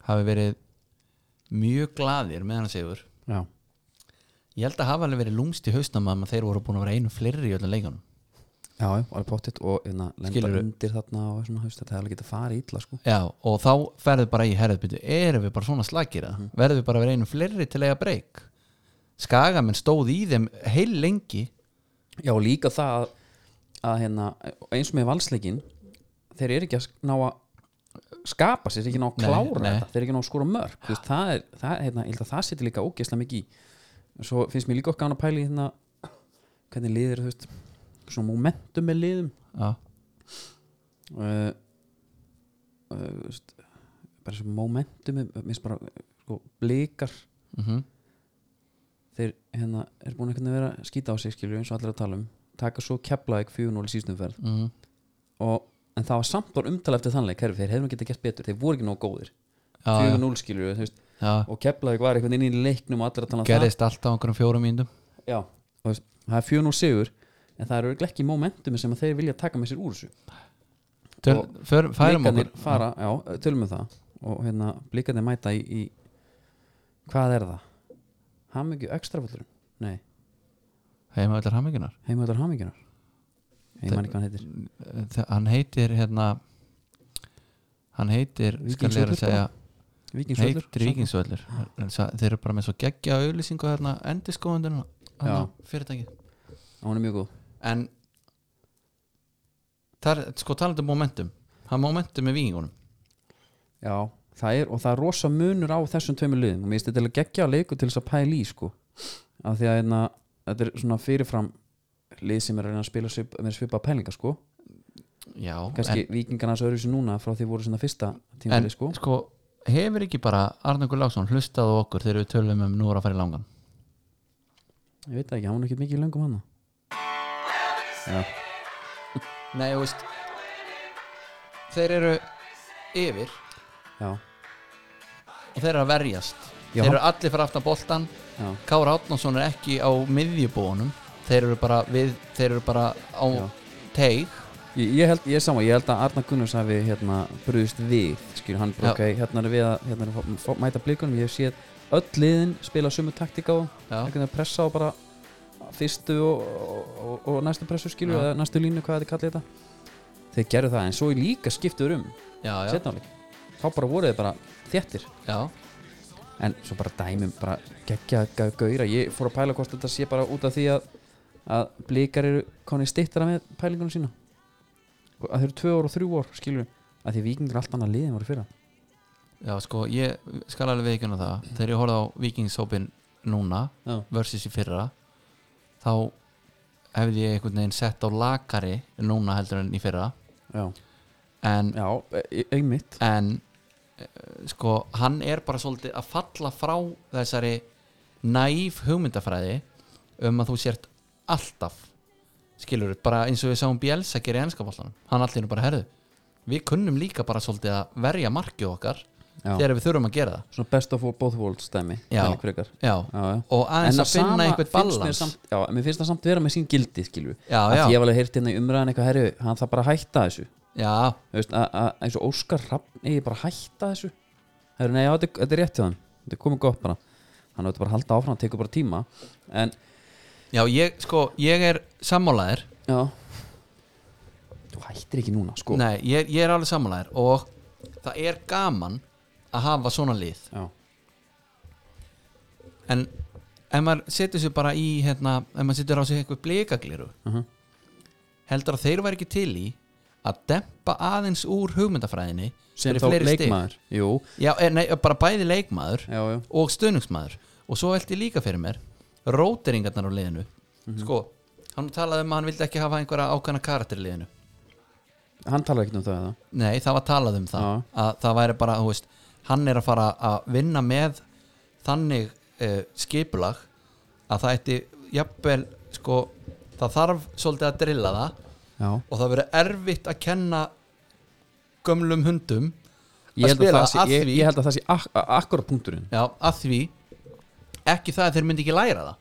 B: hafi verið mjög gladir með hann sigur
A: já,
B: Ég held að hafa alveg verið lúmst í hausnum að þeir voru búin að vera einu fleiri í öllum leikunum
A: já, já, alveg pottitt og hérna, lenda
B: Skilurðu?
A: undir þarna og svona, haust, þetta hefði getað farið illa sko.
B: Já, og þá ferðu bara í herðbyrtu erum við bara svona slagir að verðum við bara að vera einu fleiri til að eiga breyk Skagamenn stóð í þeim heil lengi
A: já, og líka það að, að hérna, eins og með valsleikin þeir eru ekki að sk- ná að skapa sér, þeir eru ekki að ná að
B: Nei,
A: klára
B: nei.
A: þetta þeir eru ekki að ná að skora mörg Þú veist, það, er, það, hérna, ég held að það seti líka ógeðslega mikið í svo finnst mér líka okkar að pæli hérna, hvernig liðir þú veist svona momentum með liðum
B: Já,
A: uh, uh, veist, bara þessu momentum minnst bara uh, sko, blikar
B: mm
A: þeir hérna er búin einhvern veginn að vera að skýta á sig skilju eins og allir að tala um taka svo keplaðið 4-0 í sístumferð
B: -hmm.
A: og en það var samt var umtala eftir þannleik herfi, þeir hefðu getað gert betur, þeir voru ekki nóg góðir
B: já, já,
A: 4-0 skilju veist,
B: já.
A: og keplaðið var einhvern veginn inn í leiknum og allir að tala um
B: gerðist allt á einhverjum fjórum mínum
A: það já, og veist, það er 4-0 sigur en það eru örugglega ekki momentum sem að þeir vilja taka með sér úr þessu Og
B: Færum
A: blikarnir
B: okkur
A: fara, já, tölum við það og hérna, blikarnir mæta í, í hvað er það? Hamingju ekstraföllurinn? Nei,
B: heima öllar hamingunar
A: heimöðlar hamingjunar ég man ekki hvað hann heitir
B: Þe- hann heitir hérna hann heitir,
A: Víkings
B: skal ég að
A: og Turbo.
B: segja
A: Víkingsvöllur
B: Heitt ríkingsvöllur En sa- Þeir eru bara með svo hérna, geggja auðlýsingu þarna endiskoðundin
A: Já.
B: fyrirtækið
A: Hún er mjög góð
B: En þar, sko talandi um momentum Það er momentum með vikingunum
A: Já, það er og það er rosa munur á þessum tveimur liðum og mér finnst þetta til að gegja á leiku til þess að pæla í sko af því að einna, þetta er svona fyrirfram lið sem er að reyna að spila svip, með svipa pælinga sko
B: Já,
A: kannski vikingarna þessu öðruvísi núna frá því voru svona fyrsta
B: en, en
A: tímali sko
B: sko Hefur ekki bara Arnangur Lásson hlustað á okkur þegar við tölum um nú er að fara í langan
A: ég veit það ekki, hann var ekki mikið í löngum hana Já,
B: Nei, þú veist Þeir eru yfir
A: já,
B: og þeir eru að verjast
A: Já.
B: Þeir eru allir fyrir aftan boltan
A: já,
B: Kára Átnason er ekki á miðjubónum þeir eru bara við þeir eru bara á
A: Já.
B: teig
A: Ég, ég held, ég er sama, ég held að Arna Gunnars hafi hérna brúðist við, skilur hann bara
B: Já.
A: ok, hérna er við að hérna er að fá- fá- mæta blikunum, ég hef séð öll liðin spila sömu taktík á,
B: Já.
A: einhvern veginn pressa á bara fyrstu og, og, og, og næstu pressu skilur,
B: Já.
A: eða næstu línu, hvað þið kallið þetta þeir gerðu það, en svo í líka skiptuður um
B: Já, já,
A: setnáleik, þá bara voru þið bara þéttir,
B: já,
A: en svo bara dæmum bara geggja gauðra, ég fór að pæla hvort þetta sé bara út af því að að blikar eru konni stittara með pælingunum sína Og að þeir eru tvö ár og þrjú ár skilur að því vikingur er allt annað liðin voru í fyrra
B: já sko ég skal alveg veikuna það þegar ég horfði á vikingshópin núna
A: Já.
B: versus í fyrra þá hefði ég einhvern veginn sett á lakari núna heldur en í fyrra
A: já,
B: en,
A: já e- e- einmitt
B: en eh, sko hann er bara svolítið að falla frá þessari næf hugmyndafræði um að þú sért alltaf skilur bara eins og við sáum Bielsa gera í ennskapallanum, hann allir nú bara herðu við kunnum líka bara svolítið að verja markið okkar
A: já.
B: þegar við þurfum að gera það
A: svona best of both worlds dæmi
B: Já.
A: þannig frekar.
B: já.
A: já, já.
B: og aðeins
A: það
B: að finna
A: sama
B: einhvern
A: finnst mér
B: ballans
A: samt, já, mér finnst það samt vera með sín gildi skilur
B: Já,
A: að
B: já.
A: ég hef alveg heyrt hérna í umræðan eitthvað herru, hann þarf bara að hætta þessu
B: já,
A: Þú veist, að, að, eins og Óskar Raffn eigi bara að hætta þessu herru, nei, já, þetta, er- þetta er rétt til hann þetta er komið gott bara hann átti bara að halda áfram, það tekur bara tíma en,
B: já ég, sko, ég er sammálaðir
A: já þú hættir ekki núna, sko
B: Nei, ég, ég er alveg sammálaðir og það er gaman að hafa svona lið
A: já,
B: en ef maður setur sér bara í hérna, ef maður setur á sig eitthvað blikagliru
A: Mhm.
B: heldur að þeir væri ekki til í að dempa aðeins úr hugmyndafræðinni
A: sem
B: fyrir
A: þá
B: fleiri stig.
A: leikmaður jú,
B: já, eh, nei, bara bæði leikmaður
A: já, já,
B: og stöðningsmaður og svo velti ég líka fyrir mér róteringarnar á liðinu
A: Mhm.
B: sko, hann talaði um að hann vildi ekki hafa einhverja ákveðna karakter í liðinu
A: hann talar ekkert um það eða?
B: Nei, það var talað um það
A: Já.
B: að það væri bara, þú veist, hann er að fara að vinna með þannig uh, skipulag að það ætti jafnvel sko, það þarf svolítið að drilla það
A: já,
B: og það verið erfitt að kenna gömlum hundum
A: ég
B: að
A: held að,
B: spila
A: það sé,
B: að
A: ég,
B: því
A: ég held að það sé ak akkurat punkturinn
B: já, að því ekki það að þeir myndi ekki læra það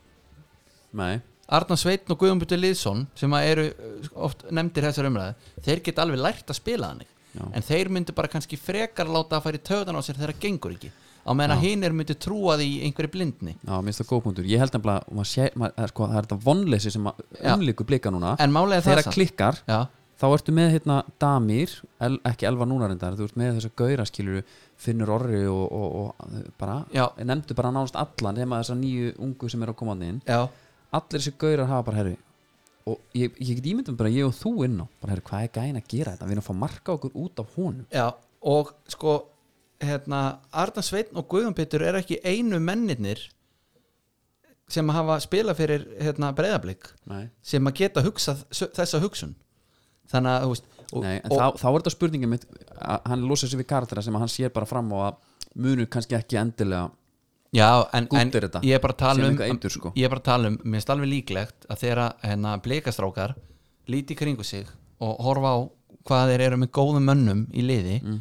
A: nei,
B: Arnar Sveitn og Guðumbjörn Liðsson sem að eru eh, oft nefndir þessar umræði þeir geta alveg lært að spila þannig
A: Já.
B: en þeir myndu bara kannski frekar láta að fara í töðan á sér þegar það gengur ekki á meðan að hinn er myndu trúa því í einhverju blindni
A: já, mér finnst það góð punktur ég held nefnilega, að maður sé, maður, eða sko, það er þetta vonleysi sem að
B: Já.
A: umlíku blika núna
B: en málega það
A: þegar það klikkar,
B: já,
A: þá ertu með hérna damir, el, ekki elva núna reyndar þú ert með þess að gauðra skilur finnur orri og, og, og bara
B: Já.
A: nefndu bara nánast allan nema þessar nýju ungu sem eru að koma þarna inn
B: já,
A: allir þessi gaurar hafa bara herri og ég, ég get ímyndum bara ég og þú inn á bara herri, hvað er gæin að gera þetta, við erum að fá marka okkur út af honum
B: já og sko hérna, Arnar Sveitn og Guðumbjörn er ekki einu mennirnir sem hafa spilað fyrir hérna, breyðablík
A: Nei.
B: sem að geta hugsað s- þessa hugsun þannig að, þú veist og,
A: Nei, en
B: og,
A: þá, þá er þetta spurningin mitt að hann losar sér við karaktera sem hann sér bara fram á að munur kannski ekki endilega
B: Já, en, en
A: Gúddir þetta,
B: ég er bara að
A: sem
B: tala um
A: eitthvað eitur, sko.
B: Ég er bara að tala um, mér finnst alveg líklegt að þeirra hérna, bleikastrákar líti í kringu sig og horfa á hvað þeir eru með góðum mönnum í liði
A: Mm.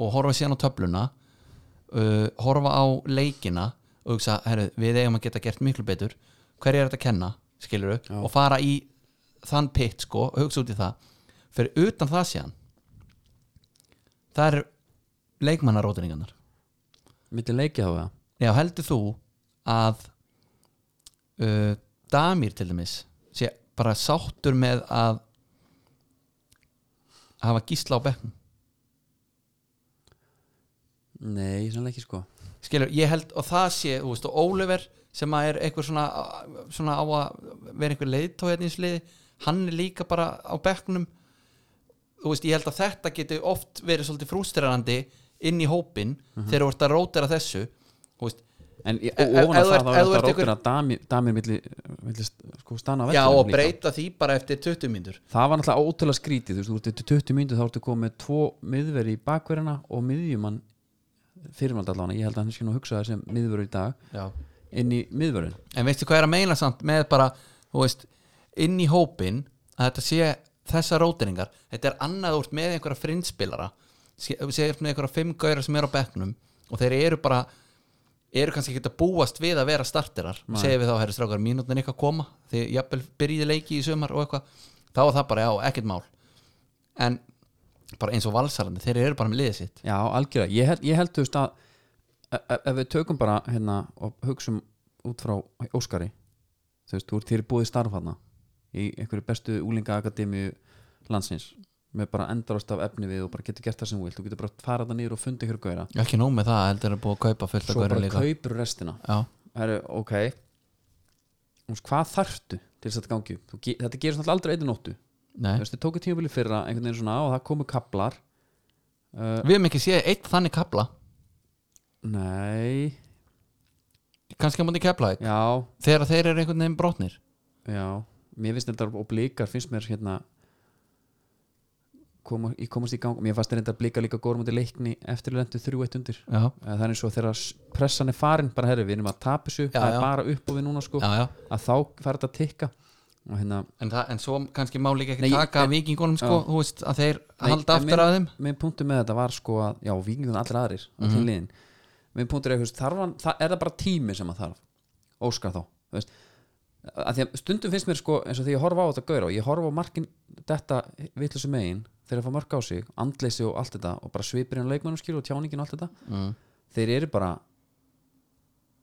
B: og horfa síðan á töfluna uh, horfa á leikina og hugsa, herru, við eigum að geta gert miklu betur hverju er þetta að kenna, skilur og fara í þann pitt sko, og hugsa út í það fyrir utan það síðan það er leikmannarótiningarnar
A: milli leikið á það
B: Já, heldur þú að uh, Damir til dæmis sé bara sáttur með að hafa gísla á bekknum
A: Nei, sannlega ekki sko
B: skilur, ég held og það sé, þú veist, og Oliver sem að er eitthvað svona, svona á að vera einhver hérna leiðtóðinninsliði hann er líka bara á bekknum þú veist, ég held að þetta geti oft verið svolítið frústrarandi inn í hópin þegar þú ert að rótera þessu þú veist,
A: En í-
B: E-
A: og ofan að
B: ef þú
A: það
B: ert-
A: þá er
B: ef þú
A: þetta
B: ert
A: róttir að damir, damir milli, milli sko, stanna á
B: já,
A: vellinum
B: og
A: líka.
B: breyta því bara eftir 20 mínútur
A: Það var náttúrulega ótrúlega skrítið Þú veist, þú ert eftir 20 myndu þá ertu komið með tvo miðveri í bakverina og miðjumann fyrirmald allan, ég held að hann sé nú að hugsa það sem miðvörur í dag
B: já.
A: inn í miðvörun
B: en veistu hvað er að meina samt með bara, þú veist, inn í hópin að þetta sé þessar róteringar þetta er annað úr með einhverja frinnspilara sé sé ert með einhverja fimm gauðra sem eru á bekknum og þeir eru bara eru kannski ekki að búast við að vera starterar
A: Nei.
B: segir við þá, herri strákar, mínútin er eitthvað að koma því jafnvel byrjiði leiki í sumar og eitthvað þá er það bara, já, ekkert mál en bara eins og valsarandi þeir eru bara með liðið sitt
A: Já, algjörlega, ég held, ég held þú veist að e- e- ef við tökum bara hérna og hugsum út frá Óskari þú veist, þú ert þér búið starf hana í einhverju bestu úlinga akademíu landsins með bara endarast af efni við og bara getur gert það sem þú vilt þú getur bara farað það niður og fundið hér gauðra
B: ekki nóg með það, heldur að búa að kaupa fullt
A: svo
B: að gauðra
A: bara
B: líka
A: kaupur restina
B: já,
A: Heru, ok Þú veist, hvað þarftu til þess að þetta gangi upp Þú ge- þetta gerist náttúrulega aldrei einu nóttu
B: nei
A: Þú veist, þið tóku tímabili fyrra einhvern veginn svona og það komu kaplar uh,
B: Við hefum ekki séð eitt þannig kapla
A: nei
B: kannski á móti keplaði
A: já,
B: þegar þeir eru einhvern veginn brotnir
A: Já, mér finnst þetta og blikar finnst mér hérna koma, í komast í gang mér fannst þetta blika líka górum út í leikni eftir lendu 3-1 undir
B: Já,
A: Eh, það er eins og þegar s- pressan er farin bara herri, við erum að tapa þessu,
B: Já,
A: það
B: já.
A: er bara upp og við núna sko,
B: já, já
A: að þá fær þetta að tikka og hérna,
B: En, það, en svo kannski má líka ekki
A: Nei, ég-
B: taka en, vikingunum sko,
A: Já.
B: þú veist, að þeir
A: Nei,
B: halda
A: en
B: aftur
A: minn-
B: af þeim
A: minn punktu með þetta var sko að, já, vikingun allir aðrir allir mm liðin, minn punktur er þú veist, þarf hann, það, er það bara tími sem að þarf óskar þá, þú veist að því að stundum finnst mér sko, eins og því ég horfa á þetta gaur og ég horfa á markin þetta vitlusu megin, þegar að fá mörg á sig andleysi og allt þetta og bara svipirinn á leikmannum skil og tjáningin og allt þetta
B: mm.
A: þeir eru bara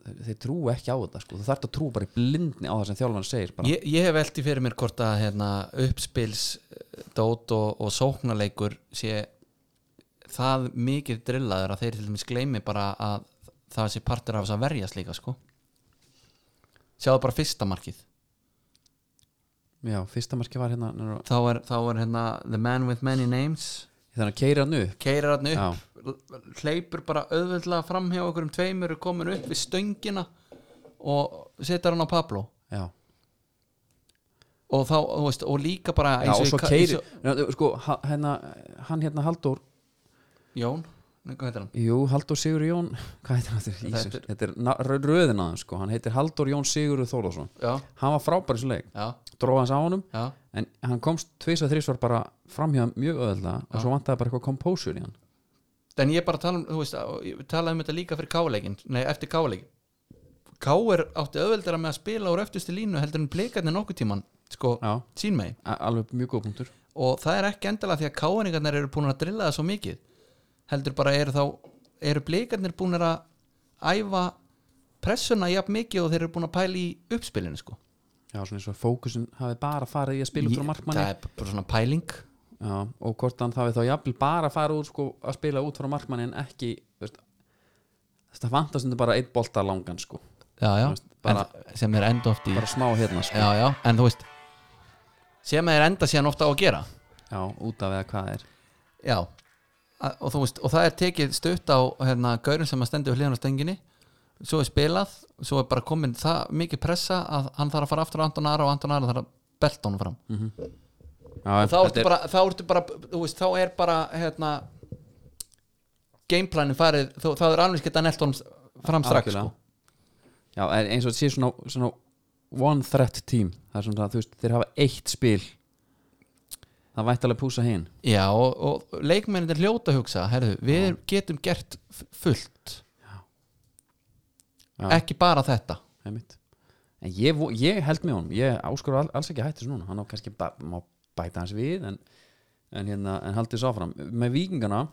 A: þeir, þeir trú ekki á þetta sko, þú þarf að trú bara í blindni á það sem þjálfarn segir bara,
B: ég, ég hef velti fyrir mér hvort að hérna, uppspils dót og, og sóknarleikur sé það mikið drillaður að þeir til dæmis gleymi bara að það sé partur af þess að verjast líka sko Sjáðu bara fyrsta markið
A: já, fyrsta marki var hérna nú-
B: Þá er, þá er hérna The Man With Many Names
A: þannig að keira hann hérna upp
B: keirir hann
A: já,
B: upp hleypur bara auðveldlega fram hjá okkur um tveimur er komin upp við stöngina og setar hann á Pablo
A: já
B: og, þá, þú veist, og líka bara
A: Já,
B: eins
A: og
B: ég
A: svo
B: ka-
A: keiri
B: eins og-
A: sko, ha- hérna, hann hérna Halldór
B: Jón, nei, hvað heitir hann?
A: Jú, Halldór Sigur Jón Hvað heitir hann þetta? Ísus.
B: Þetta
A: Þetta er na- rö- röðin aðeins sko. Hann heitir Halldór Jón Sigur Þólasson
B: Já,
A: Hann var frábær í þessu leik
B: já,
A: Dróða hans á honum
B: já,
A: En hann komst tvis og þrís var bara framhjá mjög öðvölda
B: Já.
A: Og svo vantaði bara eitthvað kompósur í hann
B: en ég bara tala um þú veist, á- ég talaði um þetta líka fyrir káleikin nei, eftir káleikin Káir átti auðveldara með að spila úr eftirstu línu heldur en blikarnir nokkuð tíman sko,
A: Já,
B: sín megi
A: a- alveg mjög góð punktur
B: og það er ekki endilega því að káningarnir eru búin að drilla það svo mikið heldur bara eru þá eru blikarnir búin að æfa pressuna jafn mikið og þeir eru búin að pæla í uppspilinu sko
A: Já, svona eins og fókusin hafi bara farið í að spila út frá
B: Ég- það
A: markmanni
B: er bara svona pæling
A: Já, og hvort hann hafi þá jafnvel bara farið út sko, að spila út frá markmanni en ekki þú veist, þetta vantast þetta bara eitt bolta langan sko.
B: já, já,
A: veist, bara-
B: en, sem þeir enda oft í
A: bara smá hérna sko.
B: Mm. já, já, en þú veist sem þeir enda síðan ofta á að gera
A: Já, út af eða hvað er
B: já A- og þú veist, og það er tekið stutt á hérna, gaurin sem að stendur hliðan á stenginni svo er spilað, svo er bara komin það mikið pressa að hann þarf að fara aftur á Anton Ara og Anton Ara þarf að belta
A: Mm.
B: honum fram
A: Já,
B: og þá ertu bara, þá ertu bara þú veist, þá er bara hérna, gameplanin farið þá, þá er alveg skett að nelt honum fram strax
A: Algjörlega.
B: sko.
A: Já, en eins og þetta sé svona, svona one threat team það er svona það, þú veist, þeir hafa eitt spil það vætti alveg að púsa hinn
B: já, og, og leikmennin er hljóta að hugsa herðu, við getum gert f- fullt
A: Já.
B: ekki bara þetta
A: einmitt. en ég, vo- ég held með honum ég áskur all, alls ekki að hætti þessu núna hann á kannski ba má bæta hans við en, en, hérna, en haldið þessu áfram með vikingana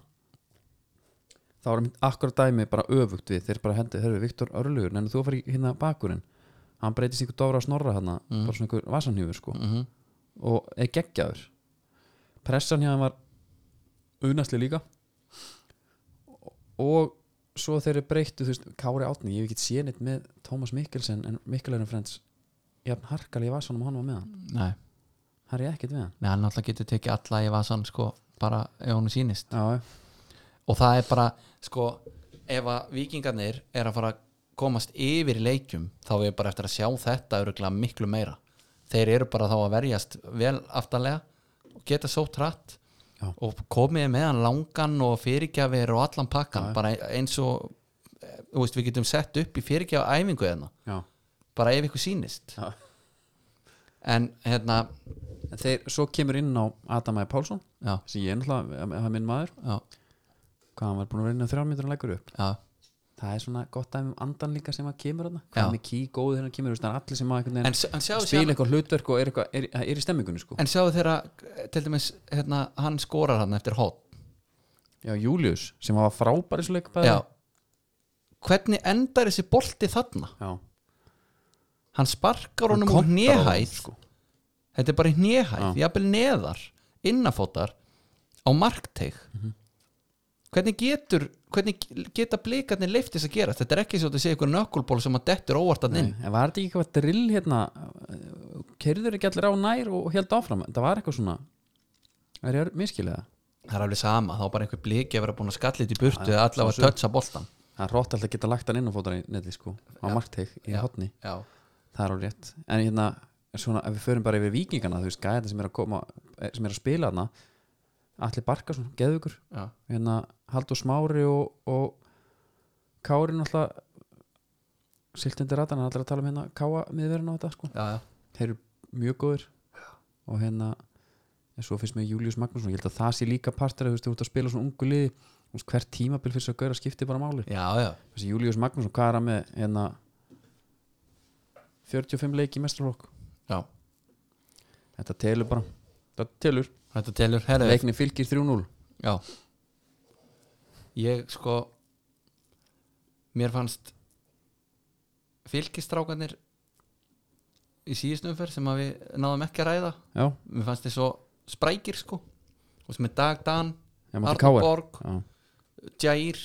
A: þá var mitt akkurat dæmi bara öfugt við þeir bara hendið, herru, Viktor Örlugur en þú að fara í hérna bakurinn hann breytist í einhver dóra að snorra hann bara svona einhver vasanhjúfur sko
B: mm -hmm.
A: og er geggjaður pressan hjá hann var unasli líka og svo þeir eru breyttu, þú veist, Kári Átni ég hef ekki séð neitt með Tómas Mikkelsen en Mikkelsen frends, jafn harkal ég var svona og hann var með hann,
B: nei,
A: það er ég ekkert við hann
B: nei, hann alltaf getur tekið alla í vasan sko, bara ef hún sýnist
A: já,
B: og það er bara, sko ef að vikingarnir er að fara að komast yfir í leikjum, þá er bara eftir að sjá þetta öruglega miklu meira þeir eru bara þá að verjast vel aftarlega og geta svo trætt
A: Já.
B: og komið meðan langan og fyrirgjafir og allan pakkan bara eins og eh, þú veist, við getum sett upp í fyrirgjafa æfingu þeirna
A: já,
B: bara ef ykkur sýnist
A: já.
B: en hérna,
A: En þeir, svo kemur inn á Adamæði Pálsson
B: já,
A: sem ég er náttúrulega, það er minn maður
B: já,
A: hvað hann var búin að vera inn á þrjármyndur og leggur upp
B: já
A: það er svona gott dæmi um andan líka sem að kemur hann
B: Já.
A: hvað með ký góð þegar hann kemur, þú veist, það er allir sem að einhvern
B: en,
A: veginn
B: s- en sjáðu
A: spila
B: síðan-
A: eitthvað hlutverk og er, eitthvað, er, er, er í stemmingunni sko.
B: en sjáðu þeirra eh, til dæmis, hérna, hann skorar hann eftir hot
A: já, Július, sem var frábæri svo leik bæði.
B: Já. hvernig endar þessi bolti þarna
A: já.
B: hann sparkar
A: Hann
B: honum úr
A: kontrar honum,
B: hnihæð
A: sko.
B: þetta er bara í hnihæð,
A: Já.
B: jafnvel neðar innafótar á markteg hvernig getur hvernig geta blikarnir leiftis að gera þetta er ekki svo að þetta sé ykkur nökkulból sem að dettur óvartan inn
A: Nei, en var þetta ekki eitthvað drill hérna kerður ekki allir á nær og held áfram það var eitthvað svona er ég miskilega
B: það er alveg sama, þá er bara einhver bliki að vera búin að skallit í burtu eða allavega að
A: sjálfsögðu.
B: tötsa boltan
A: það er rótt alltaf að geta lagt hann inn og fótar í neti sko, á markteg í
B: Já.
A: hotni
B: já,
A: það er á rétt en hérna, svona, ef við förum bara yfir vikingana þú veist, gæðin sem er að koma eh, sem er að spila hana Alli Barkarsson, geðugur
B: já,
A: hérna, Haldur Smári og, og Kárin alltaf siltindi ratan, hann er alltaf að tala um hérna Káa miðverðin á þetta sko
B: já, já.
A: þeir eru mjög góðir og hérna en svo finnst mér Július Magnússon, ég held að það sé líka partur að þú veist, þú ert að spila svona ungu liði þú veist, hvert tímabil fyrir þess að gauðra skipti bara máli
B: já, já.
A: þessi Július Magnússon, hvað er hann með hérna 45 leik í mestrarlokk
B: já.
A: þetta telur bara, þetta telur
B: þetta telur, herðu
A: leikni fylgir 3-0
B: Já Ég sko Mér fannst Fylkistrákanir Í síðustu umferð sem að við náðum ekki að ræða
A: já,
B: Mér fannst þið svo sprækir sko Og sem er Dag Dan
A: já, maður
B: Arnur
A: káir
B: Borg,
A: já,
B: Jair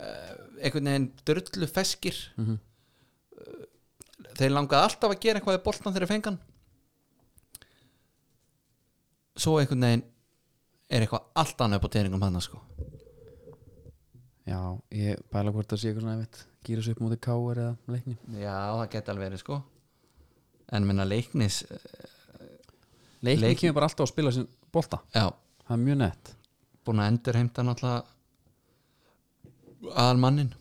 B: uh, Einhvern veginn drullu feskir Eh,
A: Mhm.
B: Þeir langaði alltaf að gera eitthvað í boltan þegar fengan Svo einhvern veginn er eitthvað allt annað upp á teiningum hann sko
A: já, ég bæla hvort það sé eitthvað svona einmitt, gýra sig upp mútið káir eða leikni
B: Já, það geti alveg verið sko En minna leiknis eh,
A: leikni
B: Leikni-
A: kemur bara alltaf að spila sin bolta,
B: Já,
A: það er mjög nett
B: búin að endur heimta náttúrulega Almannin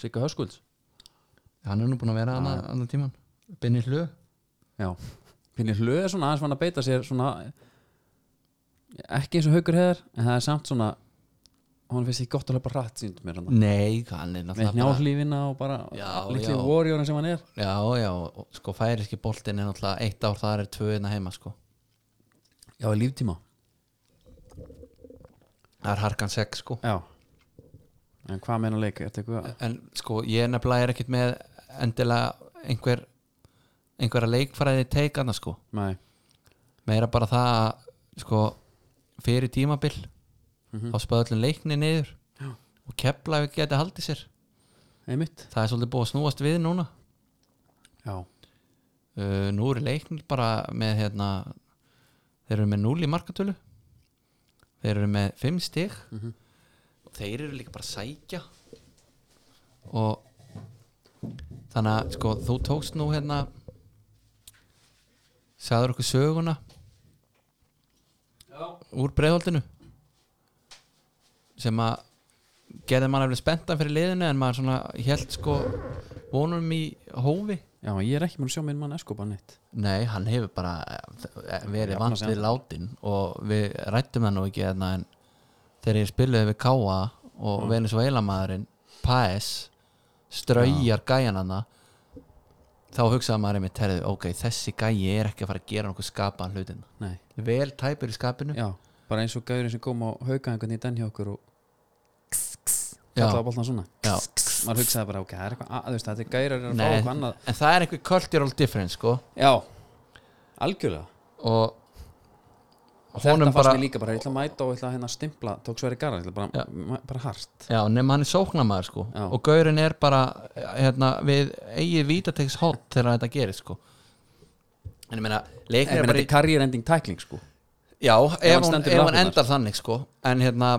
A: Sigga Höskulds
B: Hann er nú búin að vera
A: Já.
B: annað, annað tíman Binni hlu
A: Já, Pínir Hlöð er svona aðeins fann að beita sér svona ekki eins og haugur heðar en það er samt svona hún finnst ekki gott að hlaupa hratt sínd mér hann
B: Nei, hann er
A: með
B: náttúrulega bara,
A: njálflífina og bara
B: Já,
A: litli
B: já.
A: warriorin sem hann er
B: Já, já, og sko færiski boltin er náttúrulega Eitt ár þar er tvö einna heima sko
A: Já, í líftíma
B: Það er harkan 6 sko
A: Já En hvað meina leik, er þetta eitthvað
B: En sko, ég nefnilega er ekkit með endilega einhver einhverja leikfræði teikana sko
A: Nei,
B: meira bara það að sko, fyrir tímabil þá spöðu öllum leikni niður
A: Já.
B: og kepla ef geti haldið sér
A: einmitt
B: það er svolítið búið að snúast við núna
A: Já,
B: uh, nú eru leiknir bara með hérna, þeir eru með 0 í markatölu þeir eru með 5 stig
A: Mhm.
B: og þeir eru líka bara að sækja og þannig að sko þú tókst nú hérna sagður okkur söguna Já. úr breiðholdinu sem að gerði mann eflega spenntan fyrir liðinu en maður svona held sko vonum í hófi
A: já ég er ekki mér að sjá minn mann Eskoban neitt
B: Nei, hann hefur bara eh, verið
A: Jafna
B: vant
A: sig
B: við látin og við rættum það nú ekki þarna en þegar ég spilaði við Káa og mm. Venezuela maðurinn Paes straujar gæjan hana þá hugsaði maður einmitt herrið, ok, þessi gæji er ekki að fara að gera nokkuð skapaðan hlutin
A: Nei,
B: vel tæpur í skapinu
A: já, bara eins og gæðurinn sem kom á hauga einhvern í den hjá okkur og
B: Já.
A: kallaði boltan svona
B: Já.
A: Maður hugsaði bara, ok, það er eitthvað að, þú veist, þetta er gæðurinn að fá
B: Nei,
A: eitthvað annað
B: en það er einhver cultural difference sko
A: Já, algjörlega
B: og
A: þetta
B: honum
A: fannst
B: bara
A: mér líka bara, ég ætla að mæta og ég ætla að hérna stimpla tók sverri garðar, ég ætla bara, ja. bara hart
B: Já, nema hann er sóknamaður sko
A: Já.
B: og gaurin er bara hérna, við eigið vítateks hot þegar þetta gerir sko en ég meina,
A: en
B: leiknir
A: ég
B: er
A: meina, þetta
B: bara í
A: er career ending tækling sko
B: Já,
A: hann
B: ef hún,
A: stendur
B: ef hún
A: lappirnar.
B: endar þannig sko en hérna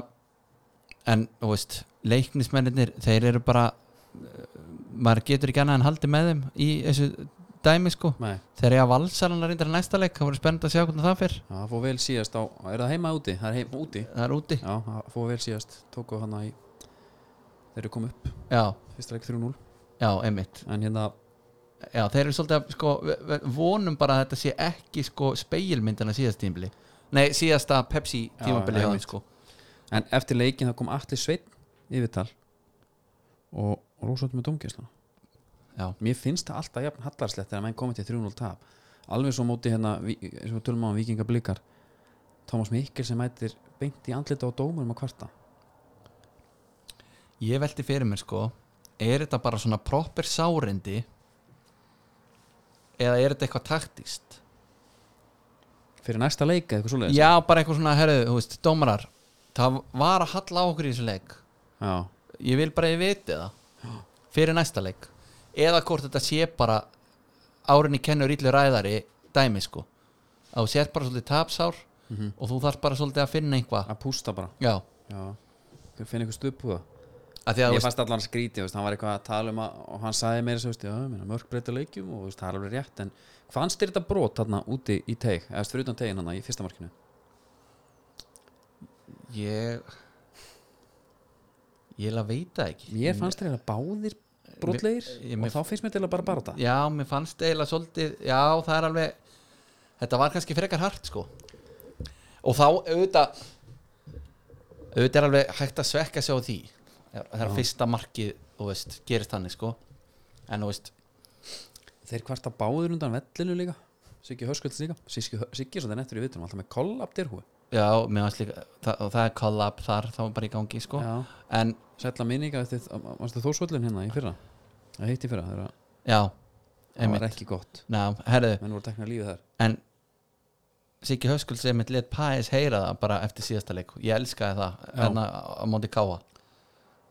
B: en, þú veist, leiknismennir þeir eru bara eh, maður getur ekki annað en haldi með þeim í þessu dæmi sko
A: Nei,
B: þegar ég að valsalanna reyndar næsta leik það voru spennt að sjá hvernig það fyrr
A: já, það fór vel síðast á, er það heima eða úti? Það er heima úti
B: það er úti,
A: Já, það fór vel síðast, tóku hana í þeir eru komið upp,
B: já,
A: fyrsta leik 3-0
B: já, einmitt
A: en hérna,
B: já, þeir eru svolítið að sko, við- við vonum bara að þetta sé ekki sko speilmyndina síðast tímabili nei, síðasta Pepsi
A: Já,
B: tímabili
A: já,
B: já,
A: einmitt.
B: sko.
A: en eftir leikin það kom allir sveinn yfirtal og, og rósvöldum með dómgæsla
B: já,
A: mér finnst það alltaf jafn hallarslegt þegar menn komið til 3-0 tap alveg svo móti hérna, Vi- eins og við tölum á um vikingablikar Thomas Mikkel sem mætir beint í andlita á dómurum að kvarta
B: ég velti fyrir mér sko er þetta bara svona proper sárindi eða er þetta eitthvað taktíst
A: fyrir næsta leika eitthvað svoleiðis
B: já, bara eitthvað svona, herðu, þú veist, dómarar það var að halla á okkur í þessu leik
A: Já.
B: ég vil bara að ég viti það fyrir næsta leik eða hvort þetta sé bara árinni kennur illu ræðari dæmi sko að þú sér bara svolítið tapsár og þú þarf bara svolítið að finna einhvað
A: að pústa bara
B: Mhm. já,
A: Já. finna eitthvað stup á það
B: að því að
A: ég
B: þú veist,
A: fannst allan skrítið, veist, hann var eitthvað að tala um að, og hann sagði meira svo, veist, já, ég meina, mörg breyta leikjum og veist, það er alveg rétt, en hvað fannst þér þetta brot þarna úti í teig, eða fyrir utan tegin hann í fyrsta markinu?
B: ég ég la veit það ekki
A: Mér fannst þér þetta báðir brotlegir
B: Mér- ég-
A: og
B: mér-
A: þá finnst mér til að bara bara þetta
B: já, mér fannst eiginlega svolítið já, það er alveg þetta var kannski frekar hart sko og þá auðvitað auðvitað er alveg hægt að svekka sig á því það er fyrsta markið þú veist, gerist þannig sko en þú veist,
A: Þeir kvarta báðir undan vellinu líka Siggi Hörskulds líka Siggi, Siggi svo það nettur í vitunum alltaf með kollab derhúi
B: já, mér fannst líka það, og það er collab þar, þá er bara í gangi sko
A: Já.
B: en,
A: Sætla minninga eftir Varstu þósvöllin hérna í fyrra? Það heitti í fyrra þegar að-
B: já
A: Það var
B: einmitt,
A: ekki gott
B: ná, herðu
A: Menn voru teknir lífið þar
B: en Siggi Höskuls einmitt let Pæs heyra það bara eftir síðasta leik ég elskaði það
A: Já.
B: en að, að móti káa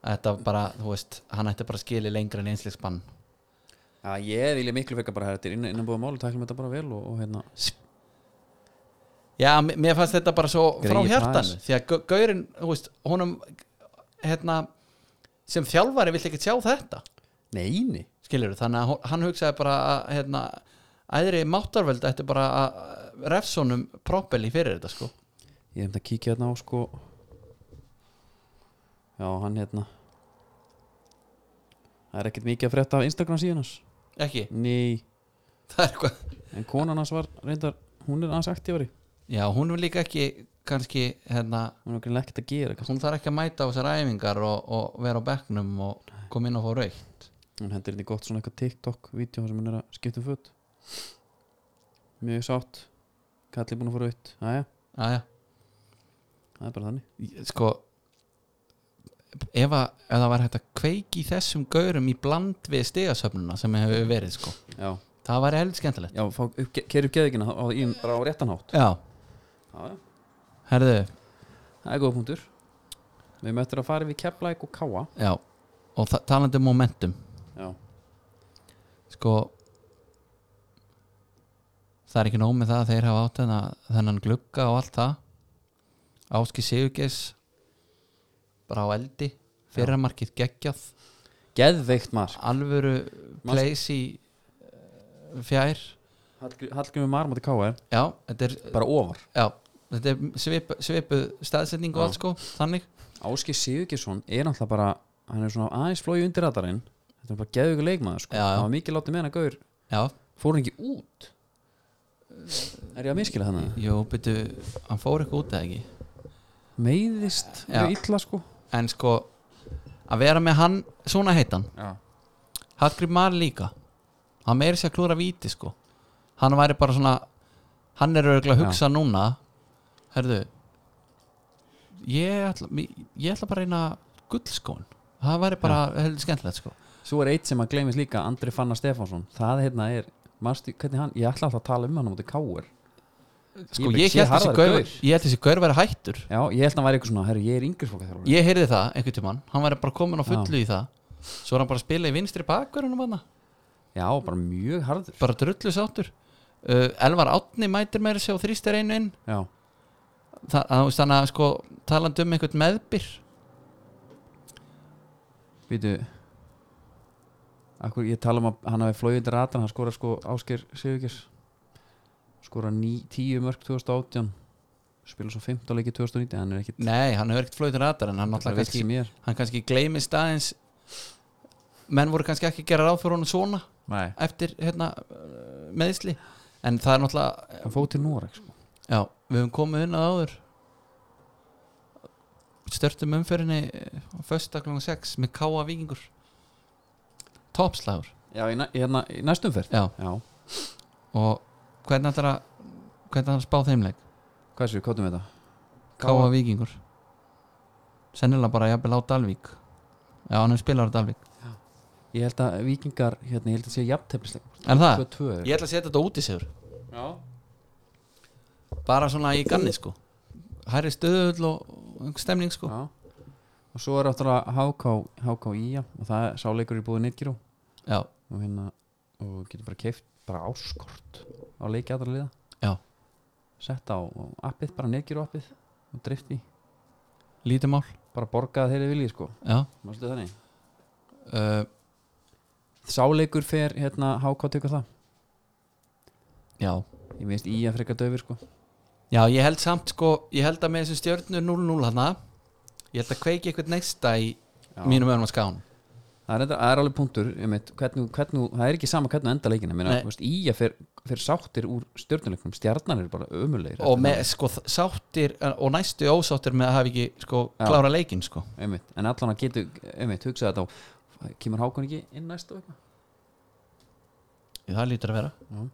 B: þetta var bara, þú veist, hann ætti bara að skili lengra en einsleiksbann
A: Já, ég vilja miklu fekka bara þetta er innan, innan búið máli tækla með þetta bara vel og, og hérna
B: já, m- mér fannst þetta bara svo frá
A: Greyið
B: hjartan
A: Paes.
B: því að Gau- Gaurinn, þú veist, honum hérna, sem þjálfari vill ekki sjá þetta,
A: Neini
B: skilur þannig að hon- hann hugsaði bara að hérna, æðri máttarvöld ætti bara að refsónum propeli fyrir þetta sko
A: Ég er um að kíkja hérna á sko Já, hann hérna Það er ekkert mikið að frétta af Instagram síðan hans
B: ekki,
A: Nei,
B: það er eitthvað
A: en konan hans var reyndar Hún er aðeins aktífari
B: já, hún er líka ekki kannski, hérna
A: Hún er okkur ekkert að gera kannski.
B: hún þarf ekki að mæta á þessar æfingar og, og vera á bekknum og koma inn og fá raukt
A: hún hendur hérna í gott svona eitthvað TikTok-vídeó þar sem hún er að skipta um föt mjög sátt kalli búin að fara aukt, aðja,
B: aðja,
A: það er bara þannig
B: sko ef, að, ef það var hægt að kveiki í þessum gaurum í bland við stigasöfnuna sem hefur verið sko
A: já,
B: það var heldur skemmtilegt
A: já fá, upp, keru geðikina á, á, í- bara á réttan hátt
B: já,
A: já, já.
B: herðu,
A: það er góð punktur við möttum að fara við Keflæk og Káa
B: já og þa- talandi um momentum
A: já,
B: sko það er ekki nóg með það að þeir hafa átt þennan, þennan glugga og allt það Áski Sigurgeis bara á eldi fyrramarkið geggjað
A: geðveikt mark
B: alvöru place í eh, fjær
A: Hallgr- Hallgrímur Mar mátti Káa er
B: já, þetta er,
A: bara ofar
B: já, þetta er svip, svipuð staðsetning og
A: Já.
B: allt sko þannig,
A: Áski Sigurgesson er alltaf bara hann er svona aðeins flóið undir radarinn þetta er bara geðveikur leikmaður sko.
B: Já, já.
A: það var mikið látið með hann að gaur
B: já,
A: fór hann ekki út er ég að miskila þannig?
B: jú, byrju hann fór eitthvað út eða ekki
A: meiðist
B: Já.
A: mjög illa sko
B: en sko, að vera með hann svona heitan,
A: já.
B: Hallgrím Mar líka hann meiri sér að klúra víti sko hann væri bara svona hann er örgulega að hugsa núna herðu ég ætla, mi- ég ætla bara að reyna gullskón, það væri bara heldur skemmtilegt sko
A: svo er eitt sem að gleymist líka Andri Fannar Stefánsson það hérna er, marstu, hvernig hann, ég ætla alltaf að tala um hann á móti Káur
B: sko
A: bara
B: ég
A: sé
B: held þessi
A: harðari
B: gaur
A: gaur.
B: ég held þessi gaur væri hættur
A: Já, ég held að hann væri eitthvað svona, herru, ég er yngri fólk
B: ég heyrði það einhvern tímann, hann væri bara komin á fullu í það svo er hann bara að spila í vinstri bakverðunum hann
A: Já, bara mjög harður
B: bara drullu sáttur uh, Elvar Átni mætir meira sig og þrýstir einu inn
A: Já,
B: Þa- að þú veist, þannig að sko talandi um einhvern meðbyr
A: vítu Akkur, ég tala um að hann hafi flóið undir ratan hann skora sko Ásker Sigurkjars skora ní, tíu mörg 2018 spila svo 15 leiki 2019 hann er ekkit
B: nei, hann hefur ekkert flóið til radar en hann,
A: hann
B: náttúrulega
A: veit
B: kannski,
A: sem ég er
B: hann kannski gleymist aðeins menn voru kannski ekki að gera ráð fyrir honum svona
A: Nei.
B: eftir hérna, uh, meðisli en það er náttúrulega
A: hann fóð til Noreg sko.
B: já, við höfum komið inn að áður störtum umferinni á föstaklunum 6 með káa vikingur topslagur
A: já, í, næ, í, hérna- í næstum ferð
B: já,
A: já,
B: og hvernig ætlar að hvernig ætlar að spá þeimleik
A: hvað séu, kóttum við þetta
B: káa vikingur sennilega bara jafnvel á Dalvík já, hann er spilar á Dalvík
A: ég held að vikingar, hérna, ég held að séu jafntefnisleik
B: en það,
A: 2-2
B: ég ætla að setja þetta út í sigur
A: já,
B: bara svona í ganni sko hærri stöðull og einhver stemning sko
A: já. og svo er áttúrulega HK, HK Ía og það er sáleikur í búið Nirgiró
B: já,
A: og hérna og getur bara keift bara áskort á leiki aðra liða
B: Já.
A: sett á á appið, bara neðgjur appið og drift í,
B: lítið mál
A: bara borgað þeirri vilji sko,
B: já,
A: mástu þannig
B: uh,
A: sáleikur fer hérna HK tökur það
B: já
A: ég minnst í að freka döfur sko
B: já, ég held samt sko, ég held að með þessu stjörnu 0-0 hana ég held að kveiki eitthvað neista í
A: Já.
B: mínum öðrum að skán
A: það er, enda, það er alveg punktur einmitt, hvernig, hvernig, það er ekki sama hvernig þú enda leikina Meina,
B: Nei.
A: þú veist, í að fer, fer sáttir úr stjörnuleikum stjarnar eru bara ömulegir
B: og með sko þ- sáttir eh, og næstu ósáttir með að hafa ekki sko
A: Já.
B: klára leikinn sko
A: einmitt, en allan að getur einmitt, hugsa þetta á kemur hákon ekki inn næsta vegna
B: það lítur að vera
A: Já.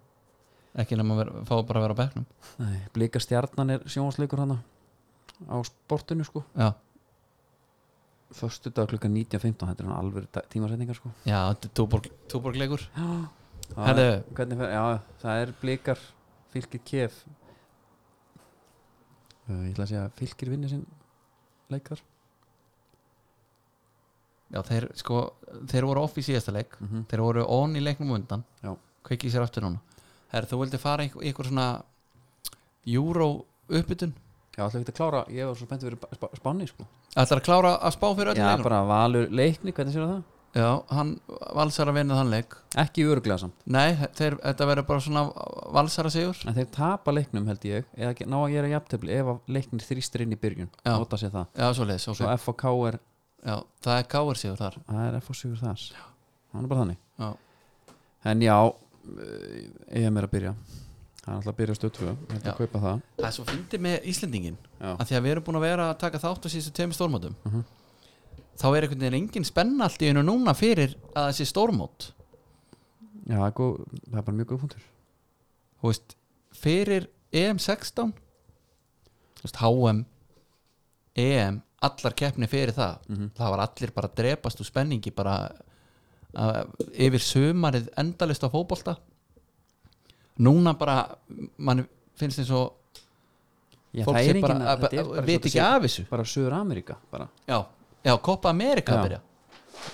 B: ekki nema að vera, fá bara að vera á bekknum
A: Nei, blika stjarnan er sjónsleikur hana á sportinu sko
B: já,
A: Föstu dag klukka 19.15 Þetta er hann alveg tímasetningar sko
B: já þetta er túborg, túborgleikur
A: Það
B: Herðu.
A: er- hvernig fer, Já, það er blikar Fylkir kef Uh, Ég ætla að segja að fylkir vinni sinn leikar
B: já, þeir sko, þeir voru off í síðasta leik
A: mm -hmm.
B: þeir voru on í leiknum á undan
A: Já.
B: kveikið sér aftur núna Herra, þú vildi fara einhver, einhver svona euro uppbytun
A: Já, ætla ekki að klára Ég var svo spennt fyrir sp sp spanni sko
B: ætlar að klára að spá fyrir öll
A: Já,
B: leikunum?
A: bara valur leikni, hvernig séu það?
B: já, hann valsar að vinna þann leik
A: Ekki örglega samt
B: nei, þeir, þetta verður bara svona valsar að sigur
A: En þeir tapa leiknum held ég Eða ge- ná að gera jafntefli Ef að leiknir þrýstir inn í byrjun
B: Já.
A: Nota sér það
B: já, svo leis,
A: Svo FK er
B: já, það er káir sigur þar
A: það er F.O. Sigur þar hann er bara þannig
B: já,
A: en já, ég er meira að byrja hann er alltaf að byrja stöðtvö ég ætla
B: Já.
A: að kaupa það
B: það er svo fyndið með Íslendingin
A: já.
B: að því að við erum búin að vera að taka þátt á síðustu tveimur stórmótum
A: Mhm.
B: þá er einhvern veginn engin spenna allt í einu núna fyrir að þessi stórmót
A: Já, það, er góð, það er bara mjög góð punktur
B: þú veist, fyrir EM16 þú veist, HM EM, allar keppni fyrir það
A: Mhm.
B: það var allir bara að drepast úr spenningi bara að, yfir sumarið endalist á fótbolta núna bara mann finnst eins og
A: já,
B: fólk
A: það
B: sé
A: er
B: bara,
A: engin
B: að,
A: þetta er
B: að,
A: bara
B: veit
A: svo
B: ekki
A: þetta
B: af þessu
A: sé bara Söður Ameríka bara.
B: já, já, Copa America
A: Já.
B: að byrja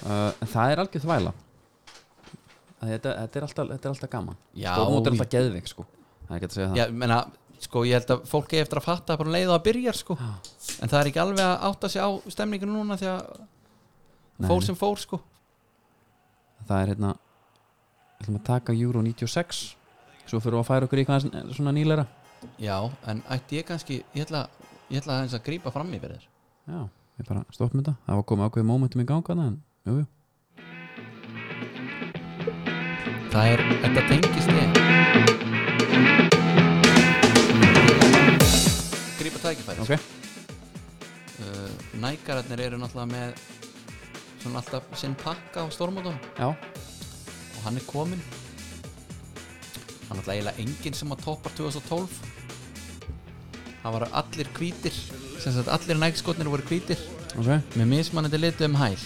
A: Uh, en það er algjör þvæla Það- þetta, þetta, er alltaf, þetta er alltaf gaman
B: Já,
A: stórmót er alltaf geðvik sko. það er ekki hægt að segja það
B: Já, ég meina, sko, ég held að fólk er eftir að fatta bara um leið og að byrja, sko en það er ekki alveg að átta sig á stemninginu núna því að
A: Nei.
B: fór sem fór, sko
A: það er hérna við ætlum að taka Euro 96 svo fyrir við að færa okkur í eitthvað svona nýleira
B: Já, en ætti ég kannski, ég ætla, ég ætla aðeins að grípa fram í fyrir þér
A: Já, ég bara stoppum þetta Það var komið ákveðið momentum í ganga en jú, jú.
B: Það er, þetta tengist ég Grípa tækifæri,
A: Ok,
B: sko uh, Nækararnir eru náttúrulega með svona alltaf sinn pakka á stormótum
A: já,
B: og hann er komin hann er eiginlega enginn sem að toppar 2012 það var allir hvítir sem sagt allir nægskotnir voru hvítir
A: ok
B: með mismannandi litu um hæl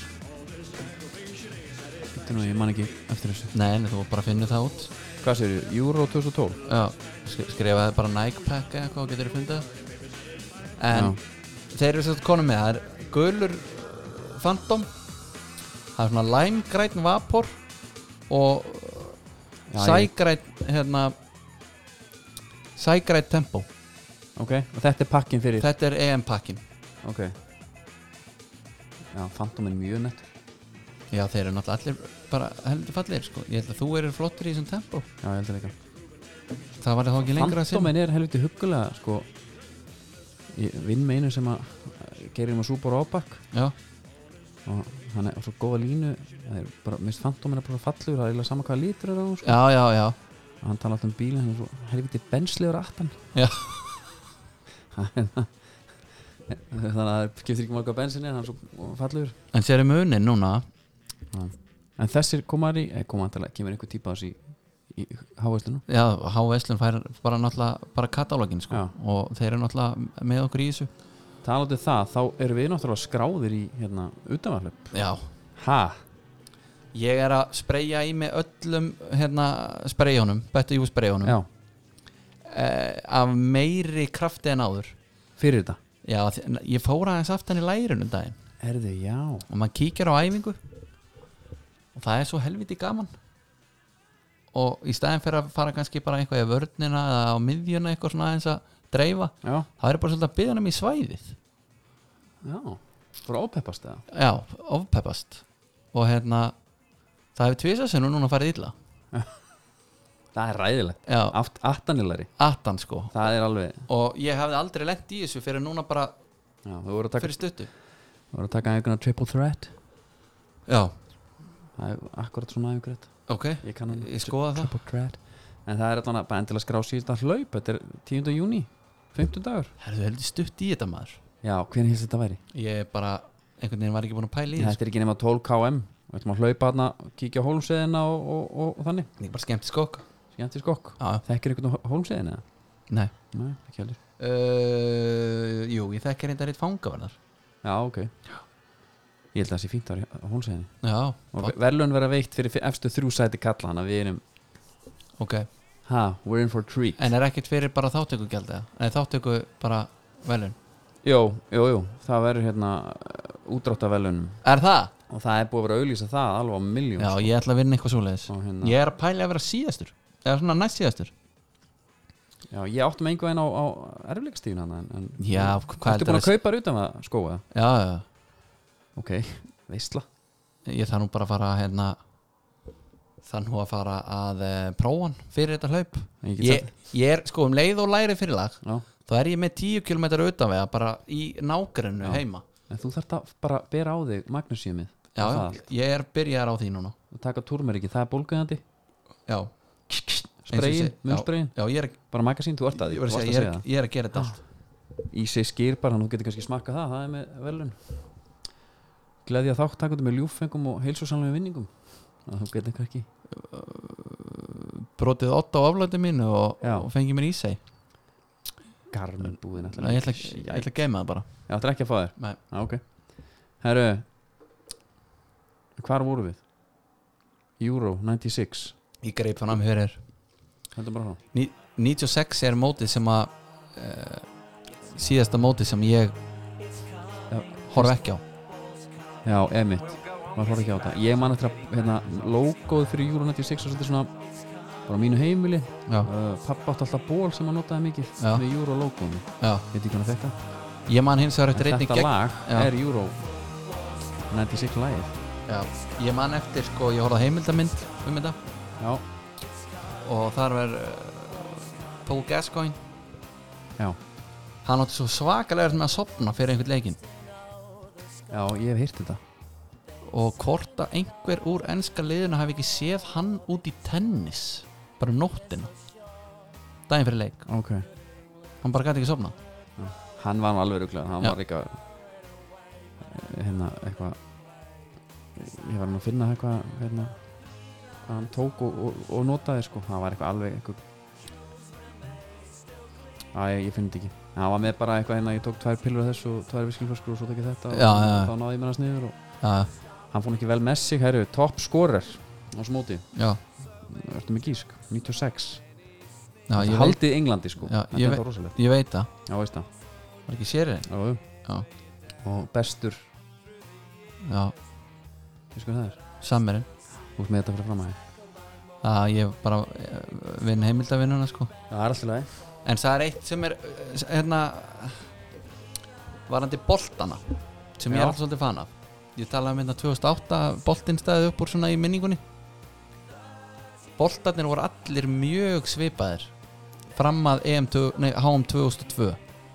A: Þetta nú, ég man ekki eftir þessu
B: nei, en þú bara finnur það út
A: Hvað segir þið? Euro 2012?
B: Já, sk- skrifaði bara Nike pack eða eitthvað og getur þið fundað en
A: Já.
B: þeir eru svolítið konum með það er gulur uh, Phantom það er svona læmgræn vapor og
A: Já, ég-
B: sægræn hérna sægræn tempo
A: Ok, og þetta er pakkin fyrir
B: þetta er EM pakkin
A: Ok Já, Phantom er mjög nettur
B: já þeir eru náttúrulega allir bara heldur fallir sko. ég held að þú eru flottur í þessum tempo
A: Já, ég heldur líka
B: það var það ekki lengra að sinna
A: Phantomin er helviti huggulega sko Ég vinn með einu sem að að gerir um að súpa á ábakk
B: já,
A: og hann er á svo góða línu það er bara, minnst Phantomin er bara svo fallur það er eiginlega sama hvaða lítur er á hann sko.
B: já, já, já
A: og hann tala alltaf um bílinn hann er svo helviti bensliður aftan
B: Já.
A: þannig að það skiptir ekki marga bensinni en hann er svo fallur
B: en sér er munin núna
A: en þessir komaðar í, eh, koma andalega, kemur einhver típa þessi í, í hávæslinu
B: Já, H.S.Lun fær bara náttúrulega bara katalógin sko
A: Já.
B: og þeir eru náttúrulega með okkur í þessu
A: talandi um það, þá erum við náttúrulega skráðir í hérna, utanvarlöp
B: Já,
A: ha,
B: ég er að spreja í mig öllum hérna spreyjónum, betu jú spreyjónum
A: já,
B: eh, af meiri krafti en áður
A: fyrir þetta
B: Já, þ- ég fór aðeins aftan í lærunum daginn
A: erðu, já,
B: og maður kíkir á æfingu og það er svo helviti gaman og í staðin fyrir að fara kannski bara eitthvað í vörnina eða á miðjuna eitthvað svona aðeins að dreifa
A: já,
B: það er bara svolítið að byggja um í svæðið
A: já fyrir að ópeppast það
B: já, ofpeppast og hérna það hefur tvisað sem núna farið illa
A: það er ræðilegt,
B: já,
A: Aft, aftanilari
B: attan sko
A: það er alveg,
B: og ég hefði aldrei lent í þessu fyrir núna bara
A: já, þú voru að taka,
B: fyrir stuttu
A: þú voru að taka einhverjum triple threat
B: já,
A: það er akkurat svona einhverjum
B: ok,
A: ég kann hann
B: ég skoða það
A: triple threat en það er allan að bara endilega skrá síðan hlaup þetta er 10. júni, 15 dagur
B: herðu heldur stutt í þetta maður
A: já, hvernig helst þetta væri?
B: ég bara, einhvern veginn var ekki búin að pæla í þessu
A: þetta er ekki nema 12 km við ætlum að hlaupa hana, kíkja á hólmseðina og, og, og, og þannig,
B: ég bara skemmt skokka
A: skemmt í skokk
B: já,
A: þekkir einhvern á hólmseðina?
B: nei
A: nei, ekki heldur
B: uh, jú, ég þekki reynda reitt fangavarðar
A: já, ok ég held að það sé fínt þar á hólmseðinni
B: já,
A: og ve- verðlaun vera veitt fyrir fi- efstu þrjú sæti kalla hana við erum,
B: ok
A: ha, we're in for a treat
B: en er ekkert fyrir bara þáttöku gældi en þáttöku bara velun
A: jú, jú, jú, það verður hérna útráttaverðlaunum
B: er það?
A: og það er búið að vera að auðlýsa það alveg á miljón
B: já, ég ætla að vinna eitthvað svoleiðis
A: og hérna
B: Ég er að pæla að vera síðastur Eða svona næst síðastur
A: Já, ég átti með einhver veginn á, á erfleikstíðun hann en, en
B: Já, hvað
A: Ertu búin
B: heldur að
A: að kaupa þér utan að skóa það? Sko,
B: Já, já,
A: Ok, veistla
B: ég þarf nú bara að fara að, hérna Þarf nú að fara að e, prófan fyrir þetta hlaup
A: Ég get
B: ég, ég er sko um leið og læri fyrir lag
A: Já,
B: Þá er ég með 10 km utanvega bara í nágrinu
A: Já.
B: heima
A: en þú þarft að bara bera á þig magnusíumið Og
B: Já,
A: það
B: já,
A: allt.
B: ég er byrjaðar á því núna
A: og taka túrmeriki, það er bólguðandi
B: Já,
A: Sprayin,
B: sé-
A: munnsprayin,
B: já ég, er, að-
A: bara magasín, þú ert að því
B: ég, var að
A: þú varst
B: segja,
A: að
B: ég, er,
A: segja
B: ég er að gera þetta allt
A: það. Í sig skýr bara, hann þú getur kannski smakka það, það er með velun Gleðja þáttakundum með ljúffengum og heilsusanlega vinningum Það þú getur kannski
B: Brotið 8 á aflæti mínu og,
A: Já.
B: og fengið mér í seg
A: Garmin búðin
B: Ég ætla ég ætla að geima það bara
A: Já, þetta er ekki að fá þér
B: Nei.
A: Já, ok Herru Hvar voru við? Euro 96
B: Ég greip þannig að mér fyrir
A: Hættum bara frá
B: Ní- 96 er mótið sem að uh, síðasta mótið sem ég horf ekki á
A: Já, emitt Maður horf ekki á þetta Ég man eftir að hérna, logoð fyrir Euro 96 og svolítið svona bara á mínu heimili
B: já,
A: uh, Pappa átti alltaf ból sem hann notaði mikið
B: Já.
A: með Euro logoðum
B: já.
A: Ég veit ekki hann að fekka
B: ég man hins
A: En
B: vegar eftir einni
A: Þetta
B: gegn
A: lag
B: Já.
A: er Euro 96 lagið
B: já, ég man eftir sko, ég horfði á heimildamind um þetta
A: Já,
B: og þar var uh, Paul Gascoigne
A: já,
B: hann átti svo svakalega erfitt með að sopna fyrir einhvern leikinn
A: já, ég hef heyrt þetta
B: og hvort að einhver úr enska liðinu hafi ekki séð hann út í tennis bara um nóttina daginn fyrir leik,
A: Ok
B: hann bara gæti ekki sopna
A: hann var nú alveg rugglega hann
B: Já.
A: var eitthvað hérna eitthvað ég var nú að finna eitthvað hérna, hvað hann tók og, og, og notaði sko, hann var eitthvað alveg eitthvað að ég, ég finn þetta ekki En hann var með bara eitthvað hérna, ég tók tvær pillur af þessu og tvær viskilflöskur og svo tekið þetta
B: Já,
A: og
B: já, já.
A: þá náði ég mér hans niður og
B: já,
A: hann fór nú ekki vel með sig, herru, topp skorer á smóti,
B: já,
A: ertu með gísk 96
B: já, ég, veit,
A: Haldið Englandi sko
B: Já,
A: Þetta
B: ég
A: er
B: veit-
A: rosalegt
B: ég veit það
A: Já, veist það
B: Var ekki sérið?
A: Já, jú.
B: Já,
A: Og bestur,
B: já,
A: við sko það er
B: samverðin
A: Þú ert með þetta fyrir fram að
B: að ég bara eh, vinn heimildavinnuna sko
A: Það er alltaf leið
B: en það er eitt sem er eh, s- hérna varandi boltana sem ég
A: Já.
B: er alltaf svolítið fan af ég talaði um hérna 2008 boltinn staðið upp úr svona í minningunni boltarnir voru allir mjög svipaðir fram að EM, tvö- nei, HM 2002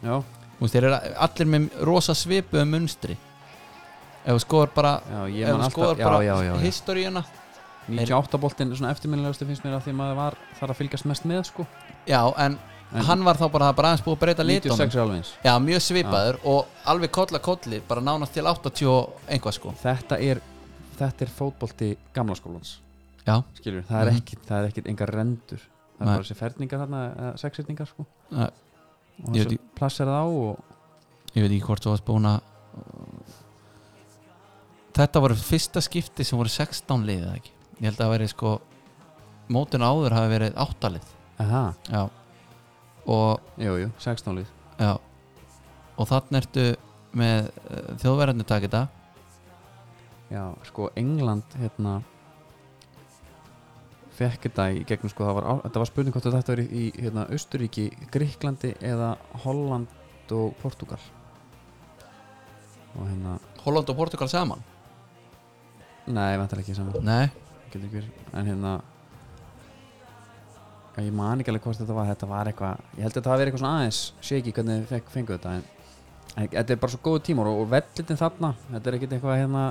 A: Já,
B: Þú veist, þeir eru allir með rosa svipuðu munstri ef þú skoðar bara
A: já,
B: ef
A: ég man
B: þú skoðar
A: alltaf Já,
B: bara
A: já, já, já.
B: historíuna
A: 98 boltinn er svona eftirminnilegustu finnst mér að því maður var þar að fylgjast mest með sko
B: já, en,
A: En-
B: hann var þá bara, það er bara aðeins búið að breyta litunum
A: 96 er alveg eins
B: Já, mjög svipaður og alveg kolla kolli bara nánast til 80 og einhvað sko
A: Þetta er, þetta er fótbolti gamla skólans
B: Já,
A: Skilur, það er
B: Mhm.
A: ekkit, það er ekkit engar rendur Það er
B: Nei.
A: bara þessi ferningar þarna, sexirningar sko
B: Nei.
A: Og
B: Ég veit
A: þessi plass er það á og
B: ég veit ekki hvort þú varst búin að Þetta voru fyrsta skipti sem voru 16 lið eða ekki Ég held að það væri sko mótin áður hafi verið 8 lið
A: Aha,
B: Já og,
A: jú, jú, 16 lið
B: já. og þannig ertu með uh, þjóðverðinu takið þetta
A: Já, sko, England hérna fekk þetta í gegnum sko, það var, á- þetta var spurning hvort þetta verið í hérna, Austuríki, Gríklandi eða Holland og Portugal og hérna
B: Holland og Portugal saman
A: nei, vantar ekki saman,
B: Nei,
A: getur ekki verið en hérna já, ég man ekki alveg hvort þetta var þetta var eitthvað, ég held að þetta hafi verið eitthvað svona aðeins shaky hvernig þið fekk, fengu þetta en, en þetta er bara svo góðu tímur og, og vellitin þarna, þetta er ekkit eitthvað hérna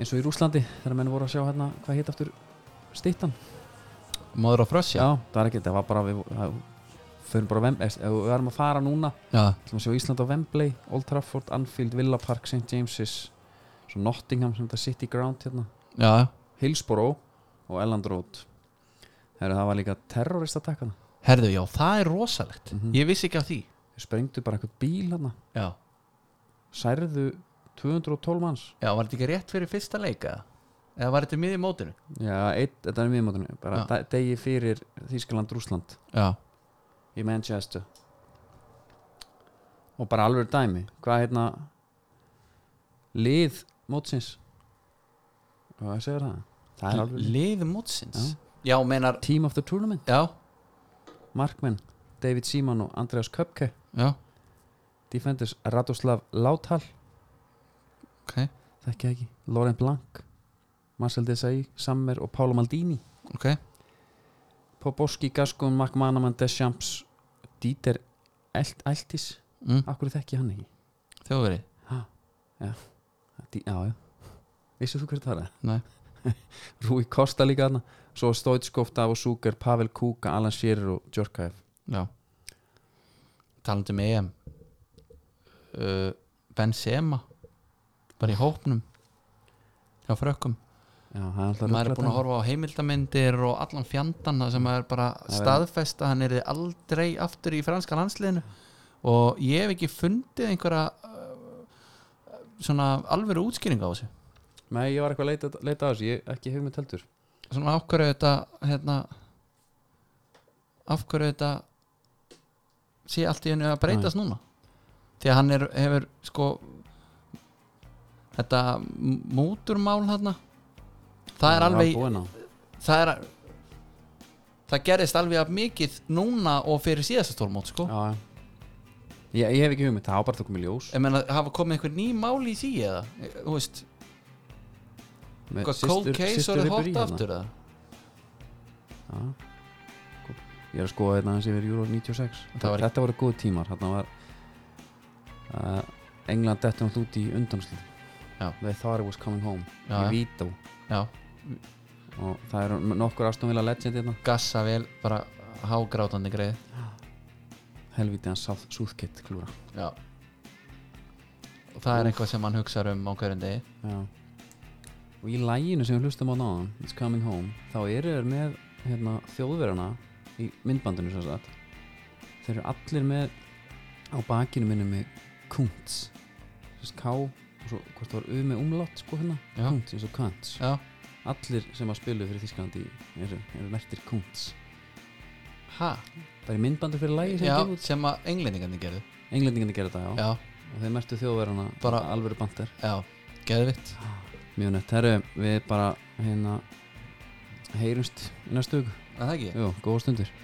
A: eins og í Rúslandi þegar menn voru að sjá hérna hvað heit aftur stýttan
B: móður og frössja
A: já, það er ekkit, það var bara við það, förum bara á Wembley, ef við erum að fara núna
B: já,
A: ætlum að sjá Ísland á Wembley, Old Trafford Anfield, Villa Park, St. James's svo Nottingham sem þetta City Ground hérna
B: já,
A: Hillsborough og Elland Road Heru, það var líka terroristatakana
B: herðu já, það er rosalegt
A: Mhm.
B: Ég vissi ekki af því
A: þau sprengdu bara eitthvað bíl hana
B: Já
A: særðu 212 manns
B: Já, var þetta ekki rétt fyrir fyrsta leika? Eða var þetta miðið mótinu?
A: já, eitt, þetta er miðmótinu bara
B: Já.
A: ja. degi fyrir Þískaland Rúsland
B: Já,
A: í Manchester og bara alveg dæmi hvað hérna lið mótsins hvað segir það? það er alveg
B: liði mótsins Já, meinar,
A: Team of the Tournament,
B: já,
A: Markman David Seaman og Andreas Köpke
B: já,
A: Defenders Radoslav Láthal
B: ok,
A: þekki það ekki, Laurent Blanc Marcel Desailly, Sammer og Paolo Maldini
B: ok
A: Poboski, Gaskun, McManaman, Deschamps Dieter Elt, Eltis,
B: mm,
A: akkur þekki ég hann ekki
B: Þjóðveri,
A: Dí, Já, já, vissið þú hvert það er?
B: nei
A: Rúi Kosta líka þarna svo Stoitskov, Davos Súker, Pavel Kuka Alan Shearer og Djorkaev
B: Já Talandi um EM uh, Benzema Bara í hópnum Já, frökkum
A: Já, það er alltaf
B: Maður er
A: ruglað
B: búin að
A: dæmi.
B: horfa á heimildamindir og allan fjandan þar sem maður er bara
A: Það er-
B: staðfest að hann er aldrei aftur í franska landsliðinu og ég hef ekki fundið einhverja uh, svona alveru útskýring á þessu
A: Nei, ég var eitthvað að leita, leita að þessu, ég ekki hugmynd heldur
B: svona af hverju þetta hérna af hverju þetta sé allt í hennu að breytast núna því að hann er, hefur sko þetta m- múturmál þarna það er alveg
A: búin á
B: það er það gerðist alveg að mikið núna og fyrir síðasta stórmót sko
A: Já, já. Ég, ég hef ekki hugmynd, það á bara að það komið ljós
B: ég meina hafa komið einhver ný mál í því eða Eh, þú veist,
A: Með
B: eitthvað cold
A: systur-
B: case
A: systur
B: orðið
A: vibbur í
B: hot
A: þarna.
B: aftur eða
A: Já. Ég er að skoða hérna aðeins yfir Euro 96
B: Það var-
A: Þetta voru góð tímar Þarna var uh, England dettur náttúrulega út í undanslið
B: Já.
A: They thought it was coming home
B: Já,
A: Í
B: já.
A: Vító
B: já,
A: Og það eru nokkur Aston Villa legend hérna
B: gassa vel bara hágrátandi greið
A: Helvítið hans South Southgate klúra
B: já og það er eitthvað sem hann hugsar um á hverjum degi
A: Já Og í læginu sem við hlustum á náðan It's coming home Þá eru þeir með hérna, þjóðverjana Í myndbandinu sem sagt Þeir eru allir með Á bakinu minni með Kuntz Þess K Og svo hvort það var U með umlátt sko hérna
B: já,
A: Kuntz eins og Kuntz
B: já,
A: allir sem að spilu fyrir Þísklandi eru, eru mertir kunts
B: ha,
A: það er myndbandur fyrir lægi sem
B: já,
A: gefur út
B: sem að englendingarnir gerðu
A: englendingarnir gera þetta, já,
B: já,
A: og þeir mertu þjóðverðana
B: Bara-
A: alvöru bandir,
B: já, geðvitt
A: mjög nett herru, við bara hérna heyrumst í næstu hug,
B: en það ekki,
A: jú, góða stundir